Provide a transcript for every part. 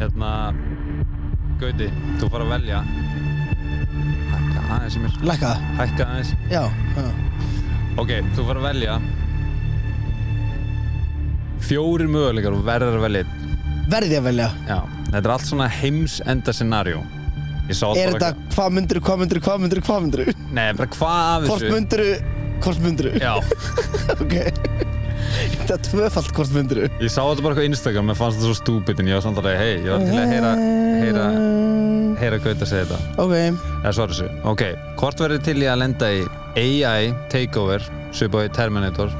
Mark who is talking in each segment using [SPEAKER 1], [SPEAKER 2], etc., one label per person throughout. [SPEAKER 1] Hérna Gauti, þú fara að velja Hækka aðeins í mér
[SPEAKER 2] Lækka það
[SPEAKER 1] Hækka aðeins
[SPEAKER 2] Já, já.
[SPEAKER 1] Ok, þú fara að velja Fjórir möguleikar og verður að velja einn.
[SPEAKER 2] Verði ég að velja
[SPEAKER 1] Já, þetta er allt svona heimsenda scenarjó Ég sá
[SPEAKER 2] Er
[SPEAKER 1] bara
[SPEAKER 2] þetta
[SPEAKER 1] eitthvað-
[SPEAKER 2] hvað myndir, hvað myndir, hvað myndir, hvað myndir
[SPEAKER 1] Nei, bara hvað af
[SPEAKER 2] Hvort
[SPEAKER 1] þessu
[SPEAKER 2] myndir, hvort myndir
[SPEAKER 1] Já,
[SPEAKER 2] Ok Þetta er tvöfalt hvort myndir
[SPEAKER 1] ég sá þetta bara eitthvað á Instagram Mér fannst þetta svo stúpid En ég var samt alveg, hei, ég var til að heyra Heyra, heyra Gauti að segja þetta
[SPEAKER 2] Eh, Ok
[SPEAKER 1] eða svara þessu ok, hvort verður til í að lenda í AI Takeover svipaði Terminator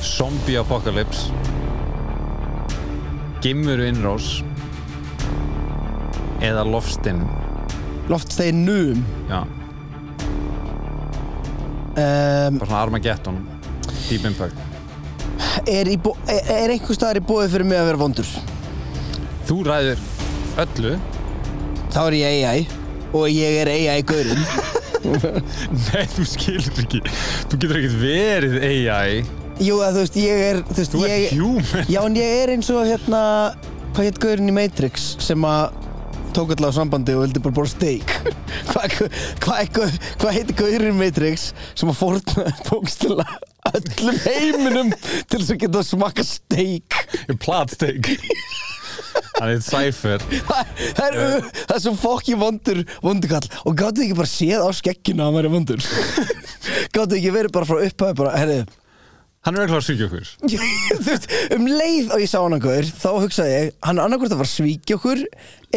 [SPEAKER 1] Zombie Apocalypse Gimmuru Inrós eða Lofstinn
[SPEAKER 2] Loftsteinum
[SPEAKER 1] já,
[SPEAKER 2] um,
[SPEAKER 1] bara svona Armageddon Deep Impact
[SPEAKER 2] Er, í bó- er, er einhver staðar í bóði fyrir mig að vera vondur?
[SPEAKER 1] þú ræður öllu
[SPEAKER 2] Þá er ég AI Og ég er AI gaurinn
[SPEAKER 1] nei, þú skilur ekki þú getur ekkert verið AI
[SPEAKER 2] Jú, að þú veist, ég er Þú veist,
[SPEAKER 1] þú
[SPEAKER 2] ég
[SPEAKER 1] ert human
[SPEAKER 2] Já, en ég er eins og hérna Hvað hétt gaurinn í Matrix sem að tók allavega sambandi og vildi bara borða steak Hvað hva, hva, hva heitir gaurinn í Matrix sem að fórna bókstila öllum heiminum til þess að geta að smaka steak
[SPEAKER 1] platsteik hann er Cypher
[SPEAKER 2] Það það er, það er svo fokki vondur vondukall og gáttu ekki bara séð á skekkinu að maður er vondur gáttu ekki verið bara frá upphæði bara, herrið
[SPEAKER 1] hann er eitthvað að svíkja okkur
[SPEAKER 2] Þú veist, um leið og ég sá hann okkur þá hugsaði ég, hann er annarkvort að fara að svíkja okkur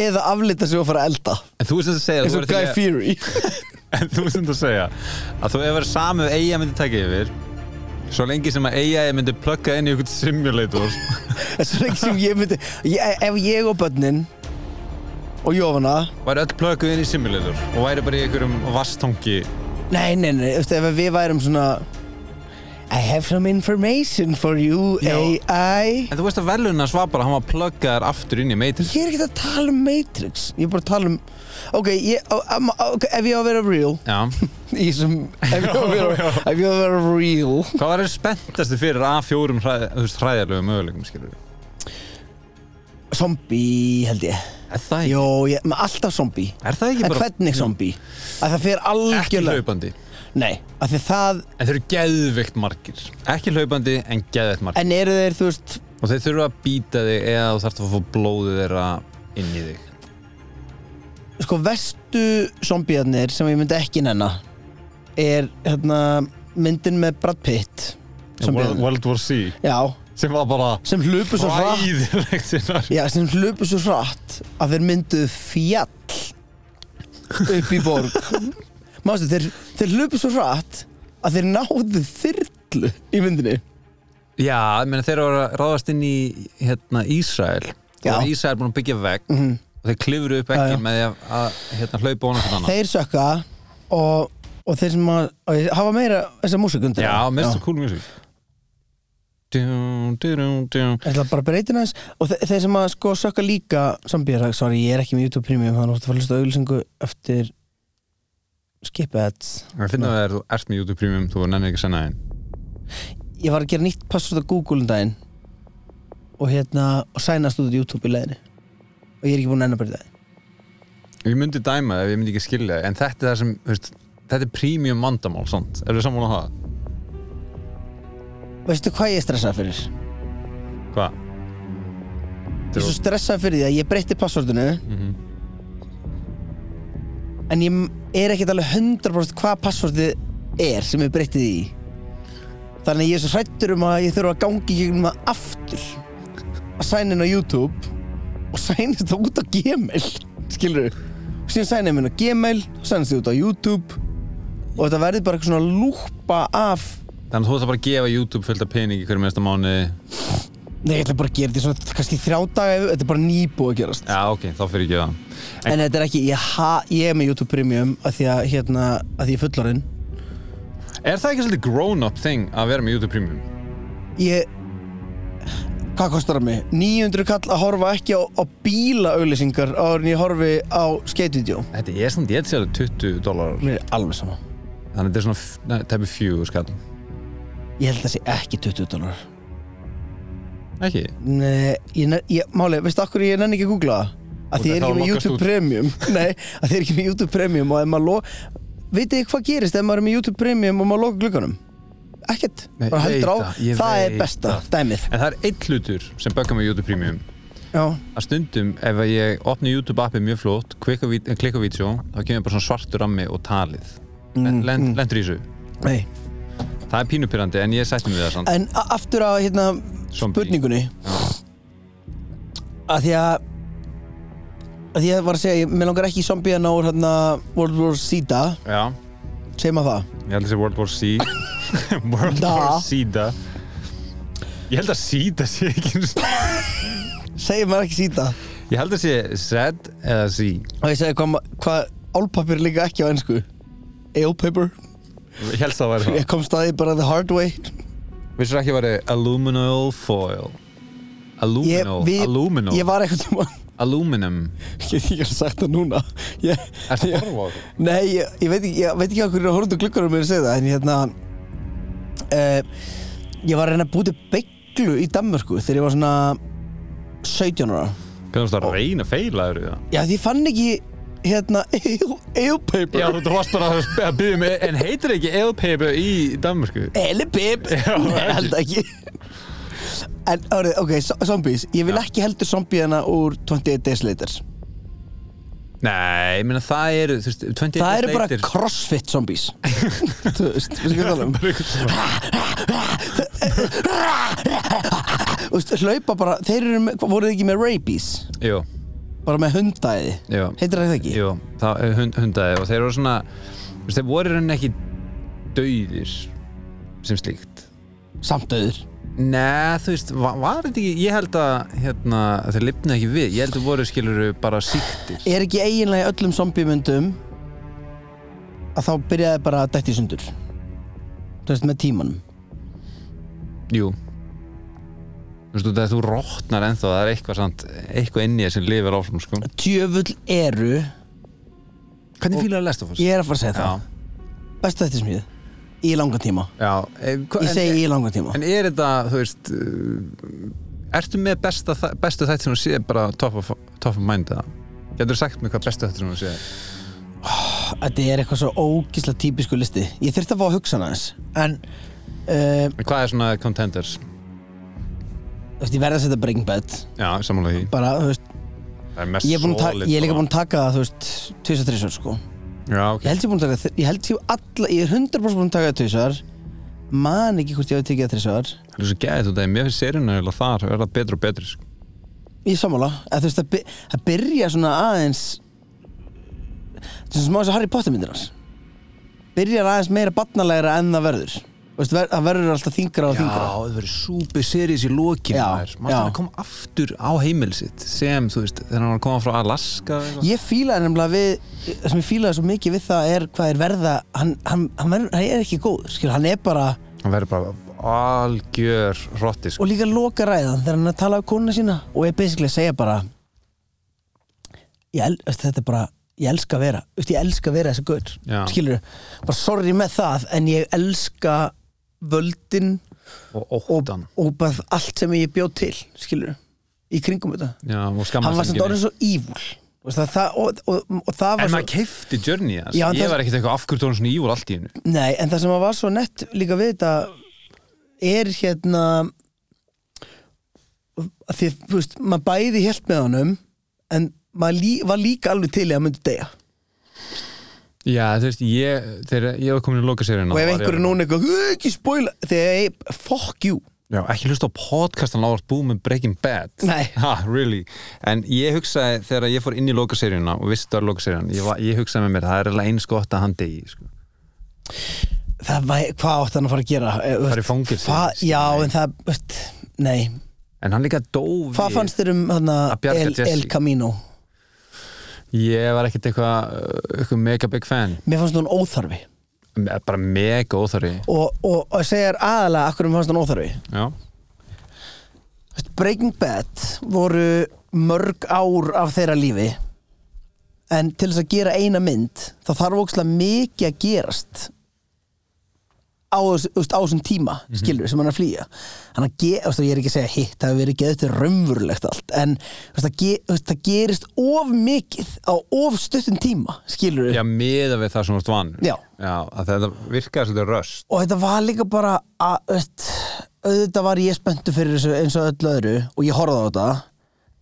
[SPEAKER 2] eða aflita sig og fara að elda
[SPEAKER 1] en þú er sem að segja að
[SPEAKER 2] eins
[SPEAKER 1] þú
[SPEAKER 2] og
[SPEAKER 1] ert til
[SPEAKER 2] Guy
[SPEAKER 1] í að-
[SPEAKER 2] Fury
[SPEAKER 1] En þú sem þú segja að þú hefur samið eiga myndi taka yfir svo lengi sem að eiga myndi plugga inn í einhvern simulator
[SPEAKER 2] þess vegna sem ég myndi ég, e- ef ég og börnin og Jófana
[SPEAKER 1] væri öll plugguð inn í simulator og væri bara í einhverjum vastangi
[SPEAKER 2] nei, nei, nei, þú veist, ef við værum svona I have some information for you,
[SPEAKER 1] Já.
[SPEAKER 2] AI
[SPEAKER 1] en þú veist að veluna svapar að hann var pluggaðar aftur inn í Matrix
[SPEAKER 2] Ég er ekkert að tala um Matrix Ég er bara að tala um Ok, ég, á- am- á- ok, ef ég á að vera real
[SPEAKER 1] Já, hvað
[SPEAKER 2] Í sem, ef ég á að vera,
[SPEAKER 1] Já, já.
[SPEAKER 2] ef ég á að vera real
[SPEAKER 1] var þér spenntastu fyrir að fjórum hræð, þú veist, hræðarlegu möguleikum skilur við?
[SPEAKER 2] Zombie held ég
[SPEAKER 1] Er það ekki?
[SPEAKER 2] Jó, ég, maður alltaf zombie
[SPEAKER 1] Er það ekki
[SPEAKER 2] En
[SPEAKER 1] bara
[SPEAKER 2] hvernig zombie? Að það fer
[SPEAKER 1] ekki
[SPEAKER 2] algjörlega
[SPEAKER 1] hlaupandi?
[SPEAKER 2] Nei, að því það
[SPEAKER 1] En þeir eru geðveikt margir Ekki hlaupandi en geðveikt margir
[SPEAKER 2] En eru þeir, þú veist
[SPEAKER 1] Og þeir þurfa að býta þig eða þú þarft að fá blóðið þeirra inn í þig
[SPEAKER 2] Sko, vestu zombiarnir sem ég myndi ekki nenna Er, hérna, myndin með Brad Pitt
[SPEAKER 1] World,
[SPEAKER 2] Zombiarnir
[SPEAKER 1] World War C
[SPEAKER 2] Já,
[SPEAKER 1] sem var bara
[SPEAKER 2] sem hlupu svo hratt
[SPEAKER 1] ræðilegt sinnar
[SPEAKER 2] Já, sem hlupu svo hratt að þeir mynduðu fjall upp í borg Mástu, þeir, þeir hlupu svo hratt að þeir náðu þyrlu í myndinni
[SPEAKER 1] Já, ég meina þeir eru að ráðast inn í hérna Ísrael og
[SPEAKER 2] Já. Mhm.
[SPEAKER 1] Ísrael búin að byggja vegg og þeir klifru upp
[SPEAKER 2] Já,
[SPEAKER 1] ekki
[SPEAKER 2] já.
[SPEAKER 1] með því að- að hérna, hlaupa honum fyrir annan
[SPEAKER 2] Þeir sökka og, og þeir sem að, og hafa meira þessa músík undir
[SPEAKER 1] Já,
[SPEAKER 2] það.
[SPEAKER 1] mér finnst það cool music Dún, dún, dún, dún.
[SPEAKER 2] Ég ætla bara að breyta hans og þe þeir sem að sko sökka líka sambýra, sorry, ég er ekki með YouTube Premium þannig að þú ætla að fara að hlusta á auglýsingu eftir skip ads
[SPEAKER 1] Það finnum við að þú ert með YouTube Premium þú nennir ekki að senna þeim
[SPEAKER 2] ég var að gera nýtt password á Google um daginn og hérna og sænast út á YouTube í leiðinni og ég er ekki búinn að enna bara í dag
[SPEAKER 1] Ég myndi dæma það ef ég myndi ekki skilja það en þetta er það sem, þú veist, þetta er premium vandamál sant? Er þið sammála um á það?
[SPEAKER 2] veistu hvað ég er stressað fyrir?
[SPEAKER 1] Hvað?
[SPEAKER 2] ég er svo stressað fyrir því að ég breytti passwordinu
[SPEAKER 1] Mhm.
[SPEAKER 2] en ég er ekkert alveg 100% hvað passwordið er sem ég breytti því í. þannig að ég er svo hrættur um að ég þurfa að gangi gegnum það aftur að sæna inn á YouTube og sænast það út á Gmail skilur við og síðan sæna ég minn á Gmail og sænast það út á YouTube og þetta verði bara eitthvað svona lúpa af
[SPEAKER 1] Þannig að þú ætlar bara að gefa YouTube fullt af pening í hverju mesta mánu
[SPEAKER 2] Nei, ég ætla bara að gera þetta í svona kannski þrjá daga ef- þetta er bara nýbúið að gerast
[SPEAKER 1] Já, ok, þá fyrir ekki það
[SPEAKER 2] en þetta er ekki, ég, ha, ég er með YouTube Premium að því að, hérna, að því ég er fullorinn
[SPEAKER 1] Er það ekki svolítið grown-up thing að vera með YouTube Premium?
[SPEAKER 2] ég hvað kostar það mig? 900 kall að horfa ekki á, á bílaauðlýsingar áður en ég horfi á skatevídeó
[SPEAKER 1] Þetta er svona, ég held sér alveg 20 dólarar
[SPEAKER 2] mér er alveg sama
[SPEAKER 1] Þannig að þetta er svona, f- nei, tæpi fjú skall
[SPEAKER 2] ég held að það sé ekki 20 dólar
[SPEAKER 1] Ekki?
[SPEAKER 2] Nei, ég, nenn- ég, máli, veistu okkur ég nenni ekki að googla það?
[SPEAKER 1] Út
[SPEAKER 2] Að því
[SPEAKER 1] af
[SPEAKER 2] ég er
[SPEAKER 1] þá
[SPEAKER 2] ekki með
[SPEAKER 1] lokast
[SPEAKER 2] YouTube
[SPEAKER 1] út.
[SPEAKER 2] Premium Nei, að því ég er ekki með YouTube Premium og ef maður lo... Vitið þið hvað gerist ef maður er með YouTube Premium og maður loka glugganum? Ekkert,
[SPEAKER 1] Nei,
[SPEAKER 2] bara
[SPEAKER 1] ég
[SPEAKER 2] heldur á
[SPEAKER 1] veit það, ég
[SPEAKER 2] Það er
[SPEAKER 1] veit
[SPEAKER 2] besta,
[SPEAKER 1] það.
[SPEAKER 2] dæmið
[SPEAKER 1] En það er einn hlutur sem bökkar með YouTube Premium
[SPEAKER 2] Já,
[SPEAKER 1] að stundum ef að ég opni YouTube appi mjög flott, klikka vít- eh, klikka vídeo þá kemur bara svona svartur rammi og talið mm, lend, lendur í þessu
[SPEAKER 2] nei
[SPEAKER 1] það er pínupirrandi en ég sætti mig við það samt
[SPEAKER 2] En a- aftur að hérna
[SPEAKER 1] Zombie.
[SPEAKER 2] spurningunni að því að að því að ég var að segja, ég, mér langar ekki í zombíana úr hérna World War Zeta,
[SPEAKER 1] já,
[SPEAKER 2] segjum að það
[SPEAKER 1] ég held að þessi World War C World
[SPEAKER 2] Da.
[SPEAKER 1] War Sida ég held að Sida sé ekki einu sinni-
[SPEAKER 2] segjum maður ekki Zeta
[SPEAKER 1] ég held að sé Z eða Z
[SPEAKER 2] og ég segi hvað hva, álpapir líka ekki á ennsku Eilpaper,
[SPEAKER 1] ég held það að
[SPEAKER 2] ég
[SPEAKER 1] vera
[SPEAKER 2] komst að því bara the hard way
[SPEAKER 1] vissur ekki að vera aluminal foil
[SPEAKER 2] ég,
[SPEAKER 1] aluminal,
[SPEAKER 2] við-
[SPEAKER 1] aluminal,
[SPEAKER 2] ég var eitthvað tíma
[SPEAKER 1] aluminum
[SPEAKER 2] ég get ekki að sagt það núna ég,
[SPEAKER 1] er það horfa á það?
[SPEAKER 2] nei, ég, ég veit ekki ég veit ekki að hverju horfðu glukkur um mér að segja það en hérna uh, ég var að reyna að búti beiglu í Danmörku þegar ég var svona 17 ára
[SPEAKER 1] hvernig varst það að reyna að feila eru það?
[SPEAKER 2] já því ég fann ekki hérna
[SPEAKER 1] Já,
[SPEAKER 2] Eilpaper
[SPEAKER 1] þú varst bara að byggja mig, en heitir ekki elpepe í Danmarku?
[SPEAKER 2] Elipip
[SPEAKER 1] Já,
[SPEAKER 2] Nei,
[SPEAKER 1] ekki.
[SPEAKER 2] held ekki En, orðið, ok, so- zombies Ég vil
[SPEAKER 1] Já.
[SPEAKER 2] ekki heldur zombiðana úr 28 Days Later
[SPEAKER 1] Nei, ég meina það eru, þú veist, 20
[SPEAKER 2] Það eru bara
[SPEAKER 1] leitir.
[SPEAKER 2] crossfit zombies Þú veist, við skalum tala um Þú veist, Hlaupa bara, þeir eru, með- hvað, voru þið ekki með rabies
[SPEAKER 1] Jú,
[SPEAKER 2] Bara með hundæði
[SPEAKER 1] jú,
[SPEAKER 2] Heitir það ekki?
[SPEAKER 1] jú, það er hund, hundaði og þeir eru svona, þú veist, þeir voru henni ekki dauðir sem slíkt.
[SPEAKER 2] Samdöður
[SPEAKER 1] Nei, þú veist, var, var þetta ekki, ég held að, hérna, þeir lifnaði ekki við, ég held að voru skiluru bara síktir.
[SPEAKER 2] Er ekki eiginlega í öllum zombiemyndum Að þá byrjaði bara að dætti sundur Þú veist, með tímanum
[SPEAKER 1] Jú. Þú veist, þegar þú rótnar ennþá, það er eitthvað samt, eitthvað inn í þér sem lifir áfram, sko.
[SPEAKER 2] Tjöfull eru
[SPEAKER 1] Hvernig fílar að lesta fyrst?
[SPEAKER 2] Ég er að fara að segja
[SPEAKER 1] Já,
[SPEAKER 2] það Bestu þetta smíð Í langan tíma
[SPEAKER 1] já. eh, hva-
[SPEAKER 2] Ég
[SPEAKER 1] en-
[SPEAKER 2] segi í langan tíma
[SPEAKER 1] En er þetta, þú veist uh, Ertu með besta, þa- bestu þætt sem þú sé bara top of, top of mind eða? Getur sagt mér hvað bestu þætt sem þú sé
[SPEAKER 2] Þetta er eitthvað svo ógislega típisku listi Ég þurfti að fá að hugsa hana aðeins En uh,
[SPEAKER 1] En Hvað er svona contenders?
[SPEAKER 2] þú veist, Ég verði að setja Breaking Bad
[SPEAKER 1] Já, samanlega því
[SPEAKER 2] Bara, þú veist
[SPEAKER 1] Það er mest
[SPEAKER 2] Ég er, búinn að ta-
[SPEAKER 1] solid
[SPEAKER 2] ég er líka
[SPEAKER 1] bara.
[SPEAKER 2] búinn að taka það, þú veist Tvísa, þrísar, sko
[SPEAKER 1] Já, ok
[SPEAKER 2] Ég held ég búinn að taka það Ég held ég alla Ég er 100% búinn að taka það tvísar Man ekki hvort ég hafi tekið það þrísar
[SPEAKER 1] Það er svo gæðið þetta Mér finnst seríuna eða þar Er það betra og betri sko.
[SPEAKER 2] Ég er sammála að, Þú veist, það, by það byrja svona aðeins Þetta er smá þess að Harry Potter myndir hans Byrjar aðeins meira barnalegra en það verður Þú veist, ver Það verður alltaf þingra og þingra
[SPEAKER 1] það verður súpi serís í lokinu
[SPEAKER 2] Já,
[SPEAKER 1] maður. Manstu
[SPEAKER 2] já.
[SPEAKER 1] þegar hann kom aftur á heimil sitt Sem, þú veist, þegar hann var að koma frá Alaska eða eitthvað?
[SPEAKER 2] Ég fílaði nefnilega við það sem ég fílaði svo mikið við það er hvað er verða hann, hann, hann, verður, hann er ekki góð skil, hann er bara,
[SPEAKER 1] Hann verður bara algjör hrotti sko.
[SPEAKER 2] og líka loka ræðan þegar hann er að tala af konuna sína og er basically að segja bara ég, el, veist, þetta er bara, ég elska að vera veist, ég elska að vera þessi gaur
[SPEAKER 1] Já.
[SPEAKER 2] skilur, bara sorry með það en ég elska völdin
[SPEAKER 1] Og
[SPEAKER 2] og,
[SPEAKER 1] óttan
[SPEAKER 2] og bara allt sem ég bjóð til skilur, í kringum þetta
[SPEAKER 1] Já, og
[SPEAKER 2] hann var
[SPEAKER 1] skammast
[SPEAKER 2] samt orðin svo evil Þú veist, það, það, og, og, og það var
[SPEAKER 1] En
[SPEAKER 2] svo-
[SPEAKER 1] maður keifti Journey þess
[SPEAKER 2] Já, en
[SPEAKER 1] Ég
[SPEAKER 2] það-
[SPEAKER 1] var ekkert eitthvað afgjörðun svona ívul allt í hennu
[SPEAKER 2] Nei, en það sem að var svo nett líka við þetta er hérna að því, þú veist, maður bæði helt með honum en maður lí, var líka alveg til í að myndi deyja
[SPEAKER 1] Já, þú veist, ég Þegar ég var komin í loka serið
[SPEAKER 2] og ef einhverju núna eitthvað, "Ú, ekki spoila þegar ég, fuck you
[SPEAKER 1] Já, ekki hlusta á podcastan Lávart Búið með Breaking Bad
[SPEAKER 2] Nei.
[SPEAKER 1] Ha, really En ég hugsaði þegar ég fór inn í loka seriðuna og vissi þetta var loka seriðan ég, var- ég hugsaði með mér, það er eiginlega eins gott að hann degi sko.
[SPEAKER 2] það var, hvað átt hann að fara að gera Eh, þú
[SPEAKER 1] Það er í
[SPEAKER 2] veist,
[SPEAKER 1] fangelsi.
[SPEAKER 2] hvað- já, en það, þú veist, nei
[SPEAKER 1] En hann líka dófi
[SPEAKER 2] hvað fannst þér um hann
[SPEAKER 1] Að bjarga
[SPEAKER 2] El,
[SPEAKER 1] Jesse.
[SPEAKER 2] El Camino
[SPEAKER 1] Ég var ekkert eitthvað eitthvað mega big fan
[SPEAKER 2] mér fannst hún óþarfi
[SPEAKER 1] Bara mega óþari
[SPEAKER 2] og, og, og segir aðalega akkur mér fannst hún óþarfi
[SPEAKER 1] Já,
[SPEAKER 2] Breaking Bad voru mörg ár af þeirra lífi en til þess að gera eina mynd þá þarf ókslega mikið að gerast á, þessu- þú veist, á þessum tíma skilur sem hann er að flýja hann að ge, þú veist, ég er ekki að segja hitt það hefur verið geðið til raunverulegt allt en þú veist, það, ge, þú veist, það gerist of mikið á of stuttum tíma skilur
[SPEAKER 1] Já, miða við það sem þú ert vanur
[SPEAKER 2] Já.
[SPEAKER 1] að þetta virkaði svolítið röst
[SPEAKER 2] og þetta var líka bara að, þú veist, auðvitað var ég spenntu fyrir þessu eins og öll öðru og ég horfði á þetta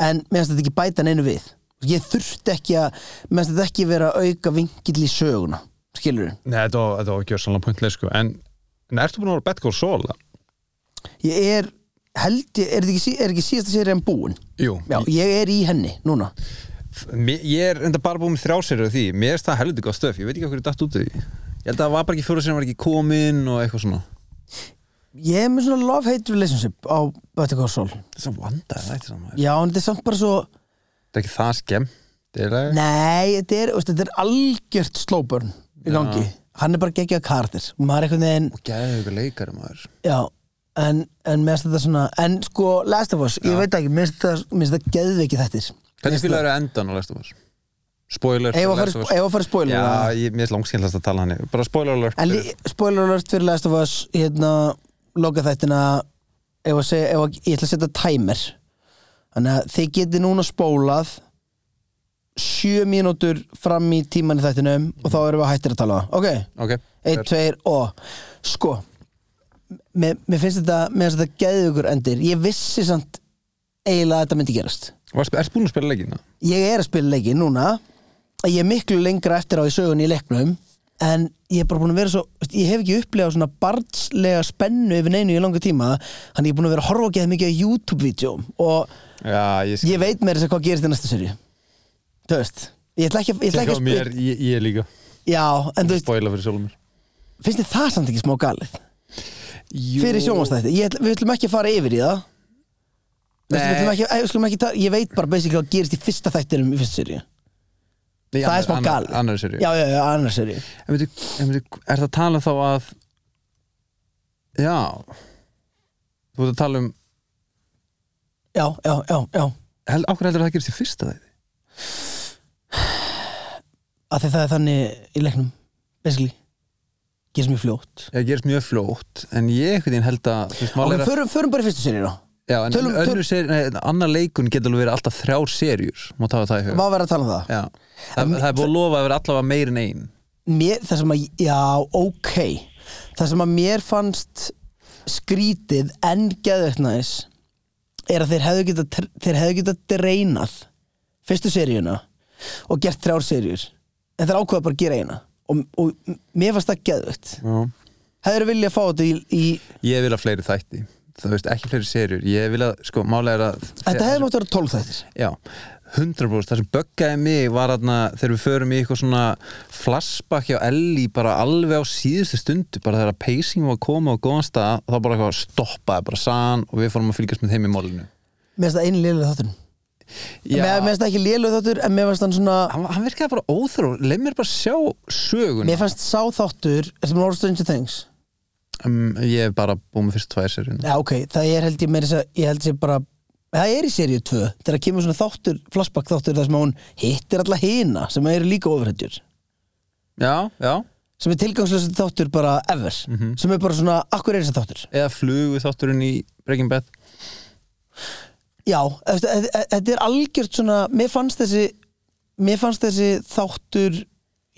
[SPEAKER 2] en mér finnst þetta ekki bæta neinu við ég þurfti ekki að mér finnst þetta ekki vera auka vingill í söguna skilur
[SPEAKER 1] Nei, þetta var, þetta var ekki að sannlega punktlega sko En, en ertu búin að vera Bad Girl Soul? eða?
[SPEAKER 2] ég er held ég, er þetta ekki, sí- er ekki síðasta séri en búin
[SPEAKER 1] Jú,
[SPEAKER 2] já, ég er í henni núna
[SPEAKER 1] Mér, ég er enda bara búin með þrjásýrur af því Mér er það heldur góð stöf, ég veit ekki okkur datt út af því Ég held að það var bara ekki fjóra sem var ekki komin og eitthvað svona
[SPEAKER 2] ég er með svona love-hate relationship á Better Call Saul
[SPEAKER 1] Þetta er svona vandaði þættir saman
[SPEAKER 2] já, en þetta er samt bara svo
[SPEAKER 1] Þetta er ekki það skemm Nei,
[SPEAKER 2] nei, þetta er, veist, þetta er algjört slow burn í gangi hann er bara geggjað kardir og maður er einhvern veginn
[SPEAKER 1] Og gæði ykkur leikari maður
[SPEAKER 2] Já, en, en mér finnst þetta svona En sko, Last of Us, ég veit ekki Mér finnst þetta- mér finnst þetta geðveiki þettir
[SPEAKER 1] Hvernig fylgðu eru endan á Last of Us? Spoiler
[SPEAKER 2] Ef
[SPEAKER 1] fyrir
[SPEAKER 2] að fara
[SPEAKER 1] Last of
[SPEAKER 2] spo-
[SPEAKER 1] Us.
[SPEAKER 2] eigum að fara spoiler eða?
[SPEAKER 1] Já, ég, mér er langskynlast að tala hann Bara spoiler alert
[SPEAKER 2] En
[SPEAKER 1] fyrir-
[SPEAKER 2] lí- spoiler alert fyrir Last of Us Hérna, loka þættina Ef að segja, ef að, ég ætla að setja timer Þannig að þið geti núna spólað Sjö mínútur fram í tíman í þættinum Og þá erum við hættir að tala um Ok,
[SPEAKER 1] Ok,
[SPEAKER 2] einn, tveir og Sko Mér, mér finnst þetta, mér finnst þetta geðveikur endir Ég vissi samt eiginlega að þetta myndi gerast
[SPEAKER 1] Varst- ertu búin að spila leikina?
[SPEAKER 2] ég er að spila leiki núna ég er miklu lengra eftir á í sögunni í leiknum en ég er bara búin að vera svo veist, ég hef ekki upplegað svona barnslega spennu yfir neinu í langa tíma hann ég er búin að vera að horfa ekki að mikið á YouTube-vídeóm og
[SPEAKER 1] Já, ég
[SPEAKER 2] ég veit meira þess að hvað gerist í næsta serju þú veist ég ætla ekki, að- ég ætla ekki að
[SPEAKER 1] mér,
[SPEAKER 2] spila
[SPEAKER 1] ég, ég líka
[SPEAKER 2] já, en þú veist,
[SPEAKER 1] Spoiler fyrir sjálfum mér
[SPEAKER 2] finnst þið það samt ekki smá galið
[SPEAKER 1] Jú.
[SPEAKER 2] fyrir sjónvastætti, við ætlum ekki að fara yfir í það Þú veist, Við
[SPEAKER 1] Nei.
[SPEAKER 2] ætlum ekki, eh, við ætlum ekki, ta- ég veit bara basically hvað gerist í fyrsta þættinum í fyrsta serju
[SPEAKER 1] Nei,
[SPEAKER 2] Það er
[SPEAKER 1] annar-
[SPEAKER 2] smá
[SPEAKER 1] annar-
[SPEAKER 2] galið
[SPEAKER 1] Annar serið
[SPEAKER 2] Já, já, já, annars serju
[SPEAKER 1] En veitu, en veitu, er það að tala þá að Já Þú ert að tala um
[SPEAKER 2] Já, já, já, já
[SPEAKER 1] hel, Ákveð heldur það gerist í fyrsta þætti
[SPEAKER 2] að því það er þannig í leiknum basically, gerist mjög fljótt
[SPEAKER 1] Það gerist mjög fljótt En ég einhvern veginn held að Þú veist, mál
[SPEAKER 2] ok,
[SPEAKER 1] er að
[SPEAKER 2] förum, förum bara í fyrstu serið þá
[SPEAKER 1] Já, en
[SPEAKER 2] tölum-
[SPEAKER 1] tölum,
[SPEAKER 2] tölum-
[SPEAKER 1] önnur seri nei, Annar leikun getur alveg verið alltaf þrjár serjur Má tafa það í huga
[SPEAKER 2] má vera að tala um það
[SPEAKER 1] Já Það, það er búið að lofa að vera allavega meir en ein
[SPEAKER 2] mér, það sem að, já, ok það sem að mér fannst skrítið en geðveikt næs er að þeir hefðu geta þeir hefðu geta dreinað fyrstu seríuna og gert þrjár seríur en þeir ákveða bara að gera eina og, og mér fannst það geðveikt
[SPEAKER 1] Já
[SPEAKER 2] hefur viljað fá þetta í, í
[SPEAKER 1] Ég vil að fleiri þætti Það veist ekki fleiri serjur Ég vil að, sko, málega er að
[SPEAKER 2] þetta hefði mátt að vera tólfþættir
[SPEAKER 1] Já, 100% það sem böggaði mig var þarna þegar við förum í eitthvað svona flashback hjá Ellie bara alveg á síðustu stundu bara þegar pacing var að koma á góðan stað þá bara eitthvað stoppaði bara sann og við fórum að fylgjast með þeim í málinu
[SPEAKER 2] mér finnst það einu liðlega þátturinn
[SPEAKER 1] Já,
[SPEAKER 2] Mér, mér finnst það ekki lélug þáttur en mér finnst hann svona
[SPEAKER 1] hann, hann virkaði bara óþró leið mér bara sjá sögun
[SPEAKER 2] Mér fannst sá þáttur sem var Stranger Things
[SPEAKER 1] um, Ég hef bara búið með fyrst tvær serið
[SPEAKER 2] Já ok, það er held ég meira þess að ég held sér bara Það er í seríu 2 þegar kemur svona þáttur, flashback þáttur þar sem hún hittir alla hina sem eru líka ofrættjur
[SPEAKER 1] Já, já,
[SPEAKER 2] sem er tilgangslösa þáttur bara ever sem er bara svona, akkur er þess þáttur
[SPEAKER 1] eða flugu þátturinn í Breaking Bad
[SPEAKER 2] Já, eftir- e- e- þetta er algjört svona mér fannst þessi mér fannst þessi þáttur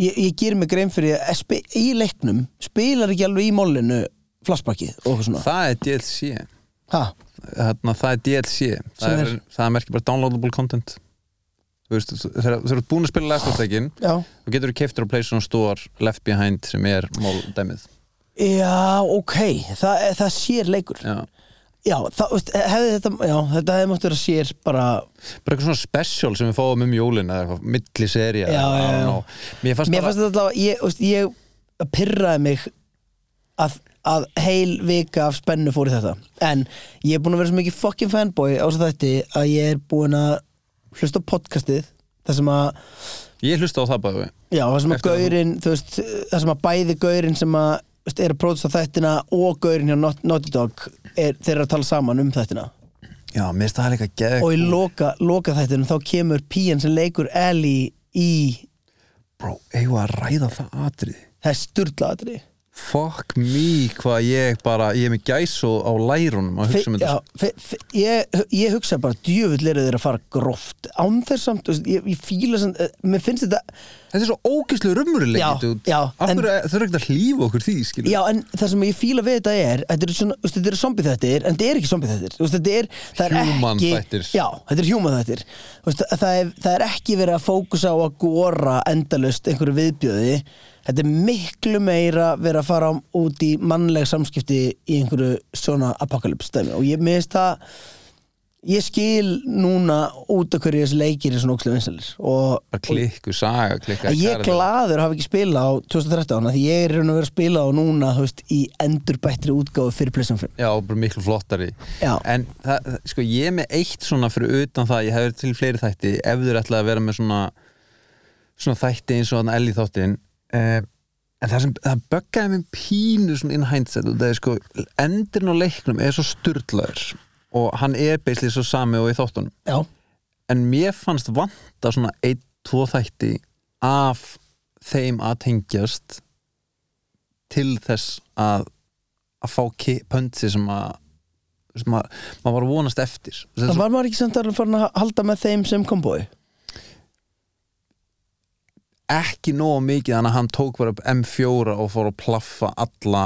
[SPEAKER 2] ég, ég ger mig grein fyrir að spi, í leiknum spilar ekki alveg í mólinu flashbackið og eitthvað svona
[SPEAKER 1] Það er DLC
[SPEAKER 2] Hæ?
[SPEAKER 1] þarna, það er DLC
[SPEAKER 2] Sem
[SPEAKER 1] það,
[SPEAKER 2] er?
[SPEAKER 1] er, það merkir bara downloadable content þú veist, þú- þegar þú ert búin að spila Last of Us-tækin
[SPEAKER 2] Já
[SPEAKER 1] þú getur þú keiftur á Playstation Store Left Behind sem er móldæmið
[SPEAKER 2] Já, ok, Þa, það sér leikur Já,
[SPEAKER 1] já.
[SPEAKER 2] það, veist, hefði þetta, já, þetta hefði mátt vera sér bara
[SPEAKER 1] bara eitthvað svona special sem við fáum um jólin eða eitthvað, milli seri
[SPEAKER 2] Já, já, já.
[SPEAKER 1] mér fannst
[SPEAKER 2] Mér
[SPEAKER 1] bara
[SPEAKER 2] fannst þetta allavega, ég, veist, ég pyrraði mig að, að heil vika af spennu fór í þetta En ég er búin að vera svo mikið fucking fanboy á þess að þætti að ég er búin að hlusta á podcastið Það sem að,
[SPEAKER 1] ég hlusta á það bæði
[SPEAKER 2] já, það sem að
[SPEAKER 1] Eftir að þú-
[SPEAKER 2] gaurinn, þú veist, það sem að bæði gaurinn sem að þú veist, er að prótsa þættina og gaurinn hjá Not- Naughty Dog er, þeir eru að tala saman um þættina
[SPEAKER 1] já, mér finnst það líka geð
[SPEAKER 2] og í loka, loka þættinum þá kemur pían sem leikur Ellie í
[SPEAKER 1] bro, eigum við að ræða það atrið
[SPEAKER 2] það er styrlaðri
[SPEAKER 1] fuck me hvað ég bara, ég er með gæsu á lærunum að hugsa um þetta
[SPEAKER 2] já, fe, fe, ég, ég hugsa bara djöfull eru þeir að fara gróft án þess samt, þú veist, ég, ég fíla samt, eh, mér finnst þetta
[SPEAKER 1] Þetta er svo ógæslu
[SPEAKER 2] Já,
[SPEAKER 1] rumurulegt
[SPEAKER 2] já, en-
[SPEAKER 1] Akkur þau eru ekkert að hlýfa okkur því skilur.
[SPEAKER 2] Já, en það sem ég fíla við þetta er Þetta eru svona, þú veist, þetta eru zombie þættir En þetta er ekki zombie þættir Þú veist, Þetta er, það er
[SPEAKER 1] Human
[SPEAKER 2] ekki
[SPEAKER 1] þættir.
[SPEAKER 2] Já, þetta er human þættir Þú veist, það, er, það er ekki verið að fókusa á að góra endalust einhverju viðbjöði Þetta er miklu meira verið að fara út í mannleg samskipti í einhverju svona apokalypse dæmi og ég minnst það ég skil núna út af hverju þessi leikir er svona ókslega vinsalir og,
[SPEAKER 1] Bara
[SPEAKER 2] og
[SPEAKER 1] klikku, saga, klikka
[SPEAKER 2] En ég er
[SPEAKER 1] kærleika.
[SPEAKER 2] glaður að hafa ekki spilað á 2013 af Því ég er raun og verið að spila á núna þú veist, Í endurbættri útgáfu fyrir Playstation 5
[SPEAKER 1] Já, bara miklu flottari
[SPEAKER 2] Já.
[SPEAKER 1] En það, það- sko, ég er með eitt svona fyrir utan það, ég hefur til fleiri þætti ef þur ætlaði að vera með svona svona þætti eins og þannig Ellie þáttin eh, en það sem það böggaði mér pínu svona in hindsight og það er sko, endurinn á leiknum er svo sturlaður og hann er beislið svo sami og í þáttunum
[SPEAKER 2] Já,
[SPEAKER 1] en mér fannst vanta svona ein, tvo þætti af þeim að tengjast til þess að að fá ki- pöntsi sem að sem að maður var að vonast eftir Þess,
[SPEAKER 2] en
[SPEAKER 1] var...
[SPEAKER 2] var maður ekki samt alveg farin að halda með þeim sem komboi?
[SPEAKER 1] ekki nógu mikið þannig að hann tók bara upp M4 og fór að plaffa alla,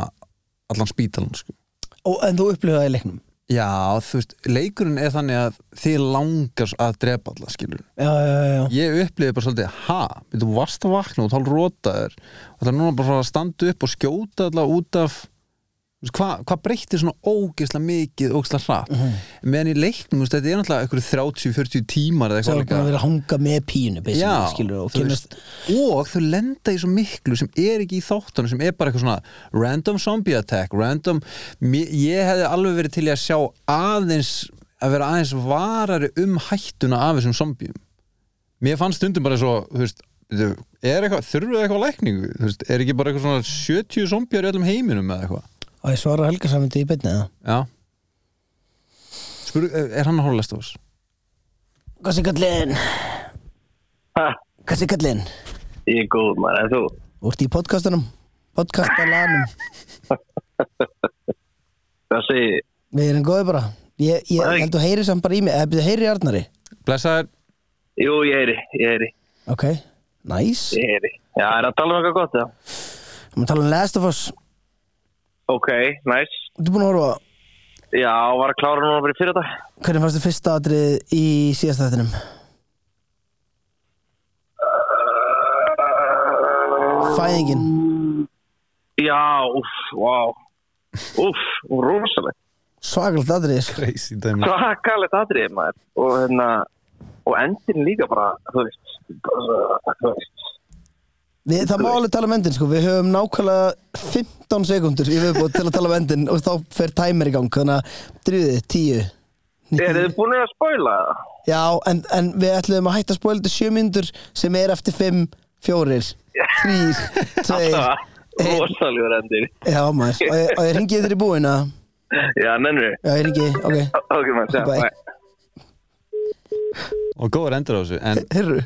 [SPEAKER 1] allan spítalan sko.
[SPEAKER 2] Og, en þú upplifaði í leiknum
[SPEAKER 1] já, þú veist, leikurinn er þannig að þið langar að drepa alla skilur
[SPEAKER 2] Já, já, já, já.
[SPEAKER 1] ég upplifði bara svolítið, ha, við þú varst að vakna og tala rótaður og það er núna bara að fara að standa upp og skjóta allavega út af þú veist, hvað hva breytir svona ógeðslega mikið ógeðslega hratt
[SPEAKER 2] Mhm.
[SPEAKER 1] meðan í leiknum, þú veist, þetta er náttúrulega einhverju 30-40 tímar eða
[SPEAKER 2] Það
[SPEAKER 1] eitthvað
[SPEAKER 2] var búin að
[SPEAKER 1] líka
[SPEAKER 2] vera að hanga með pínu basically,
[SPEAKER 1] Já,
[SPEAKER 2] skilur, og
[SPEAKER 1] þú
[SPEAKER 2] kynast,
[SPEAKER 1] og þau lenda í svo miklu sem er ekki í þáttunum sem er bara eitthvað svona random zombie attack random, Mér- ég hefði alveg verið til í að sjá aðeins að vera aðeins varari um hættuna af þessum zombium mér fannst stundum bara svo þú veist, er eitthvað, þurfum við eitthvað á lækningu Þú veist, er ekki bara eitthvað svona 70 zombjar í öllum heiminum eða eitthvað
[SPEAKER 2] og ég svara Helga samvindi í beinni eða?
[SPEAKER 1] já Spur, er hann að horfa lest á þess?
[SPEAKER 2] Hvað sé kallinn?
[SPEAKER 3] Ha,
[SPEAKER 2] Hvað sé kallinn?
[SPEAKER 3] ég er góð maður, en þú?
[SPEAKER 2] Þú ert í podcastunum Podcastalanum
[SPEAKER 3] Hvað segir ég?
[SPEAKER 2] Við erum góði bara Ég, ég
[SPEAKER 3] Nei.
[SPEAKER 2] held þú heyrir samt bara í mig Eða byrju, heyrir í Arnari
[SPEAKER 1] blessaður,
[SPEAKER 3] Jú, ég heyri, ég heyri,
[SPEAKER 2] Ok, nice
[SPEAKER 3] ég heyri. Já, er það að tala um eitthvað gott, já?
[SPEAKER 2] Við erum að tala um Last of Us
[SPEAKER 3] Ok, næs. Nice.
[SPEAKER 2] Þú er búin að horfa á
[SPEAKER 3] Já, var að klára núna bara í fyrir þetta.
[SPEAKER 2] Hvernig fannst þið fyrsta atrið í síðasta þettinum? Fæðingin
[SPEAKER 3] Já, uff, vá. Uff, rosaleg.
[SPEAKER 2] Svakalt atrið sko.
[SPEAKER 1] crazy dæmi
[SPEAKER 3] Svakalegt atrið maður. Og hérna, og endin líka bara, þú veist, bara, þú veist.
[SPEAKER 2] Við, Það má alveg tala um endin sko. Við höfum nákvæmlega 15 sekundur í viðbúið til að tala um endin og þá fer tæmer í gang þannig að drýðið, 10
[SPEAKER 3] Eru þið búin að spóila það?
[SPEAKER 2] Já, en, en við ætluðum að hætta að spóla þetta 7 myndur sem er eftir 5, 4 3, 2
[SPEAKER 3] Rosalegur endir.
[SPEAKER 2] Já maður, og ég, og ég ringi þér í búina
[SPEAKER 3] Já, nennur.
[SPEAKER 2] Já, ég ringi, ok
[SPEAKER 3] Ok maður, sjá,
[SPEAKER 2] Bye.
[SPEAKER 3] bye.
[SPEAKER 1] og góður endur á þessu, en
[SPEAKER 2] Herru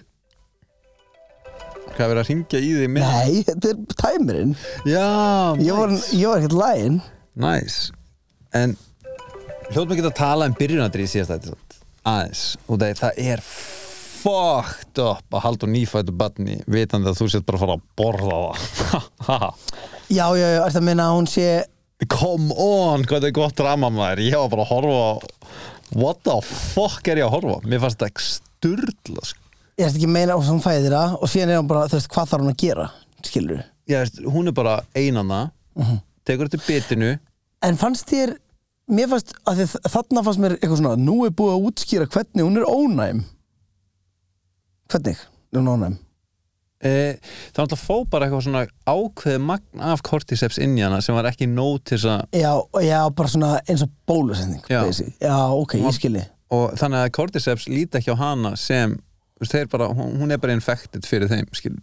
[SPEAKER 1] hvað er verið að ringja í því með?
[SPEAKER 2] Nei, þetta er tæmirinn
[SPEAKER 1] já,
[SPEAKER 2] Ég var, ég var ekkert lægin
[SPEAKER 1] Næs En hljóðum ekki að tala um byrjunadrið síðast þetta samt. Aðeins Og það, það er fucked up að halda nýfættu badni vitandi að þú sett bara að fara að borða það
[SPEAKER 2] Já, já, já, er það að minna að hún sé
[SPEAKER 1] Come on, hvað þetta er gott drama maður Ég var bara að horfa á What the fuck er ég að horfa? á? Mér fannst þetta sturla sko.
[SPEAKER 2] Ég er ekki að meina að hún fæðir það Og síðan er hún bara, þú veist, hvað þarf hún að gera Skilur
[SPEAKER 1] Ég veist, hún er bara einanna Tekur þetta bitinu
[SPEAKER 2] En fannst þér, mér fannst að þið, Þarna fannst mér eitthvað svona Nú er búið að útskýra hvernig hún er ónæm Hvernig er hún ónæm
[SPEAKER 1] Eh, Það var alltaf fó bara eitthvað svona ákveði magn af kortiseps inn í hana sem var ekki nót til þess að
[SPEAKER 2] Já, já, bara svona eins og bólusending
[SPEAKER 1] Já.
[SPEAKER 2] basic. já ok, ég skilji
[SPEAKER 1] og þannig að Cordyceps líti ekki á hana sem þú veist, þeir bara, hún hún er bara infected fyrir þeim skil.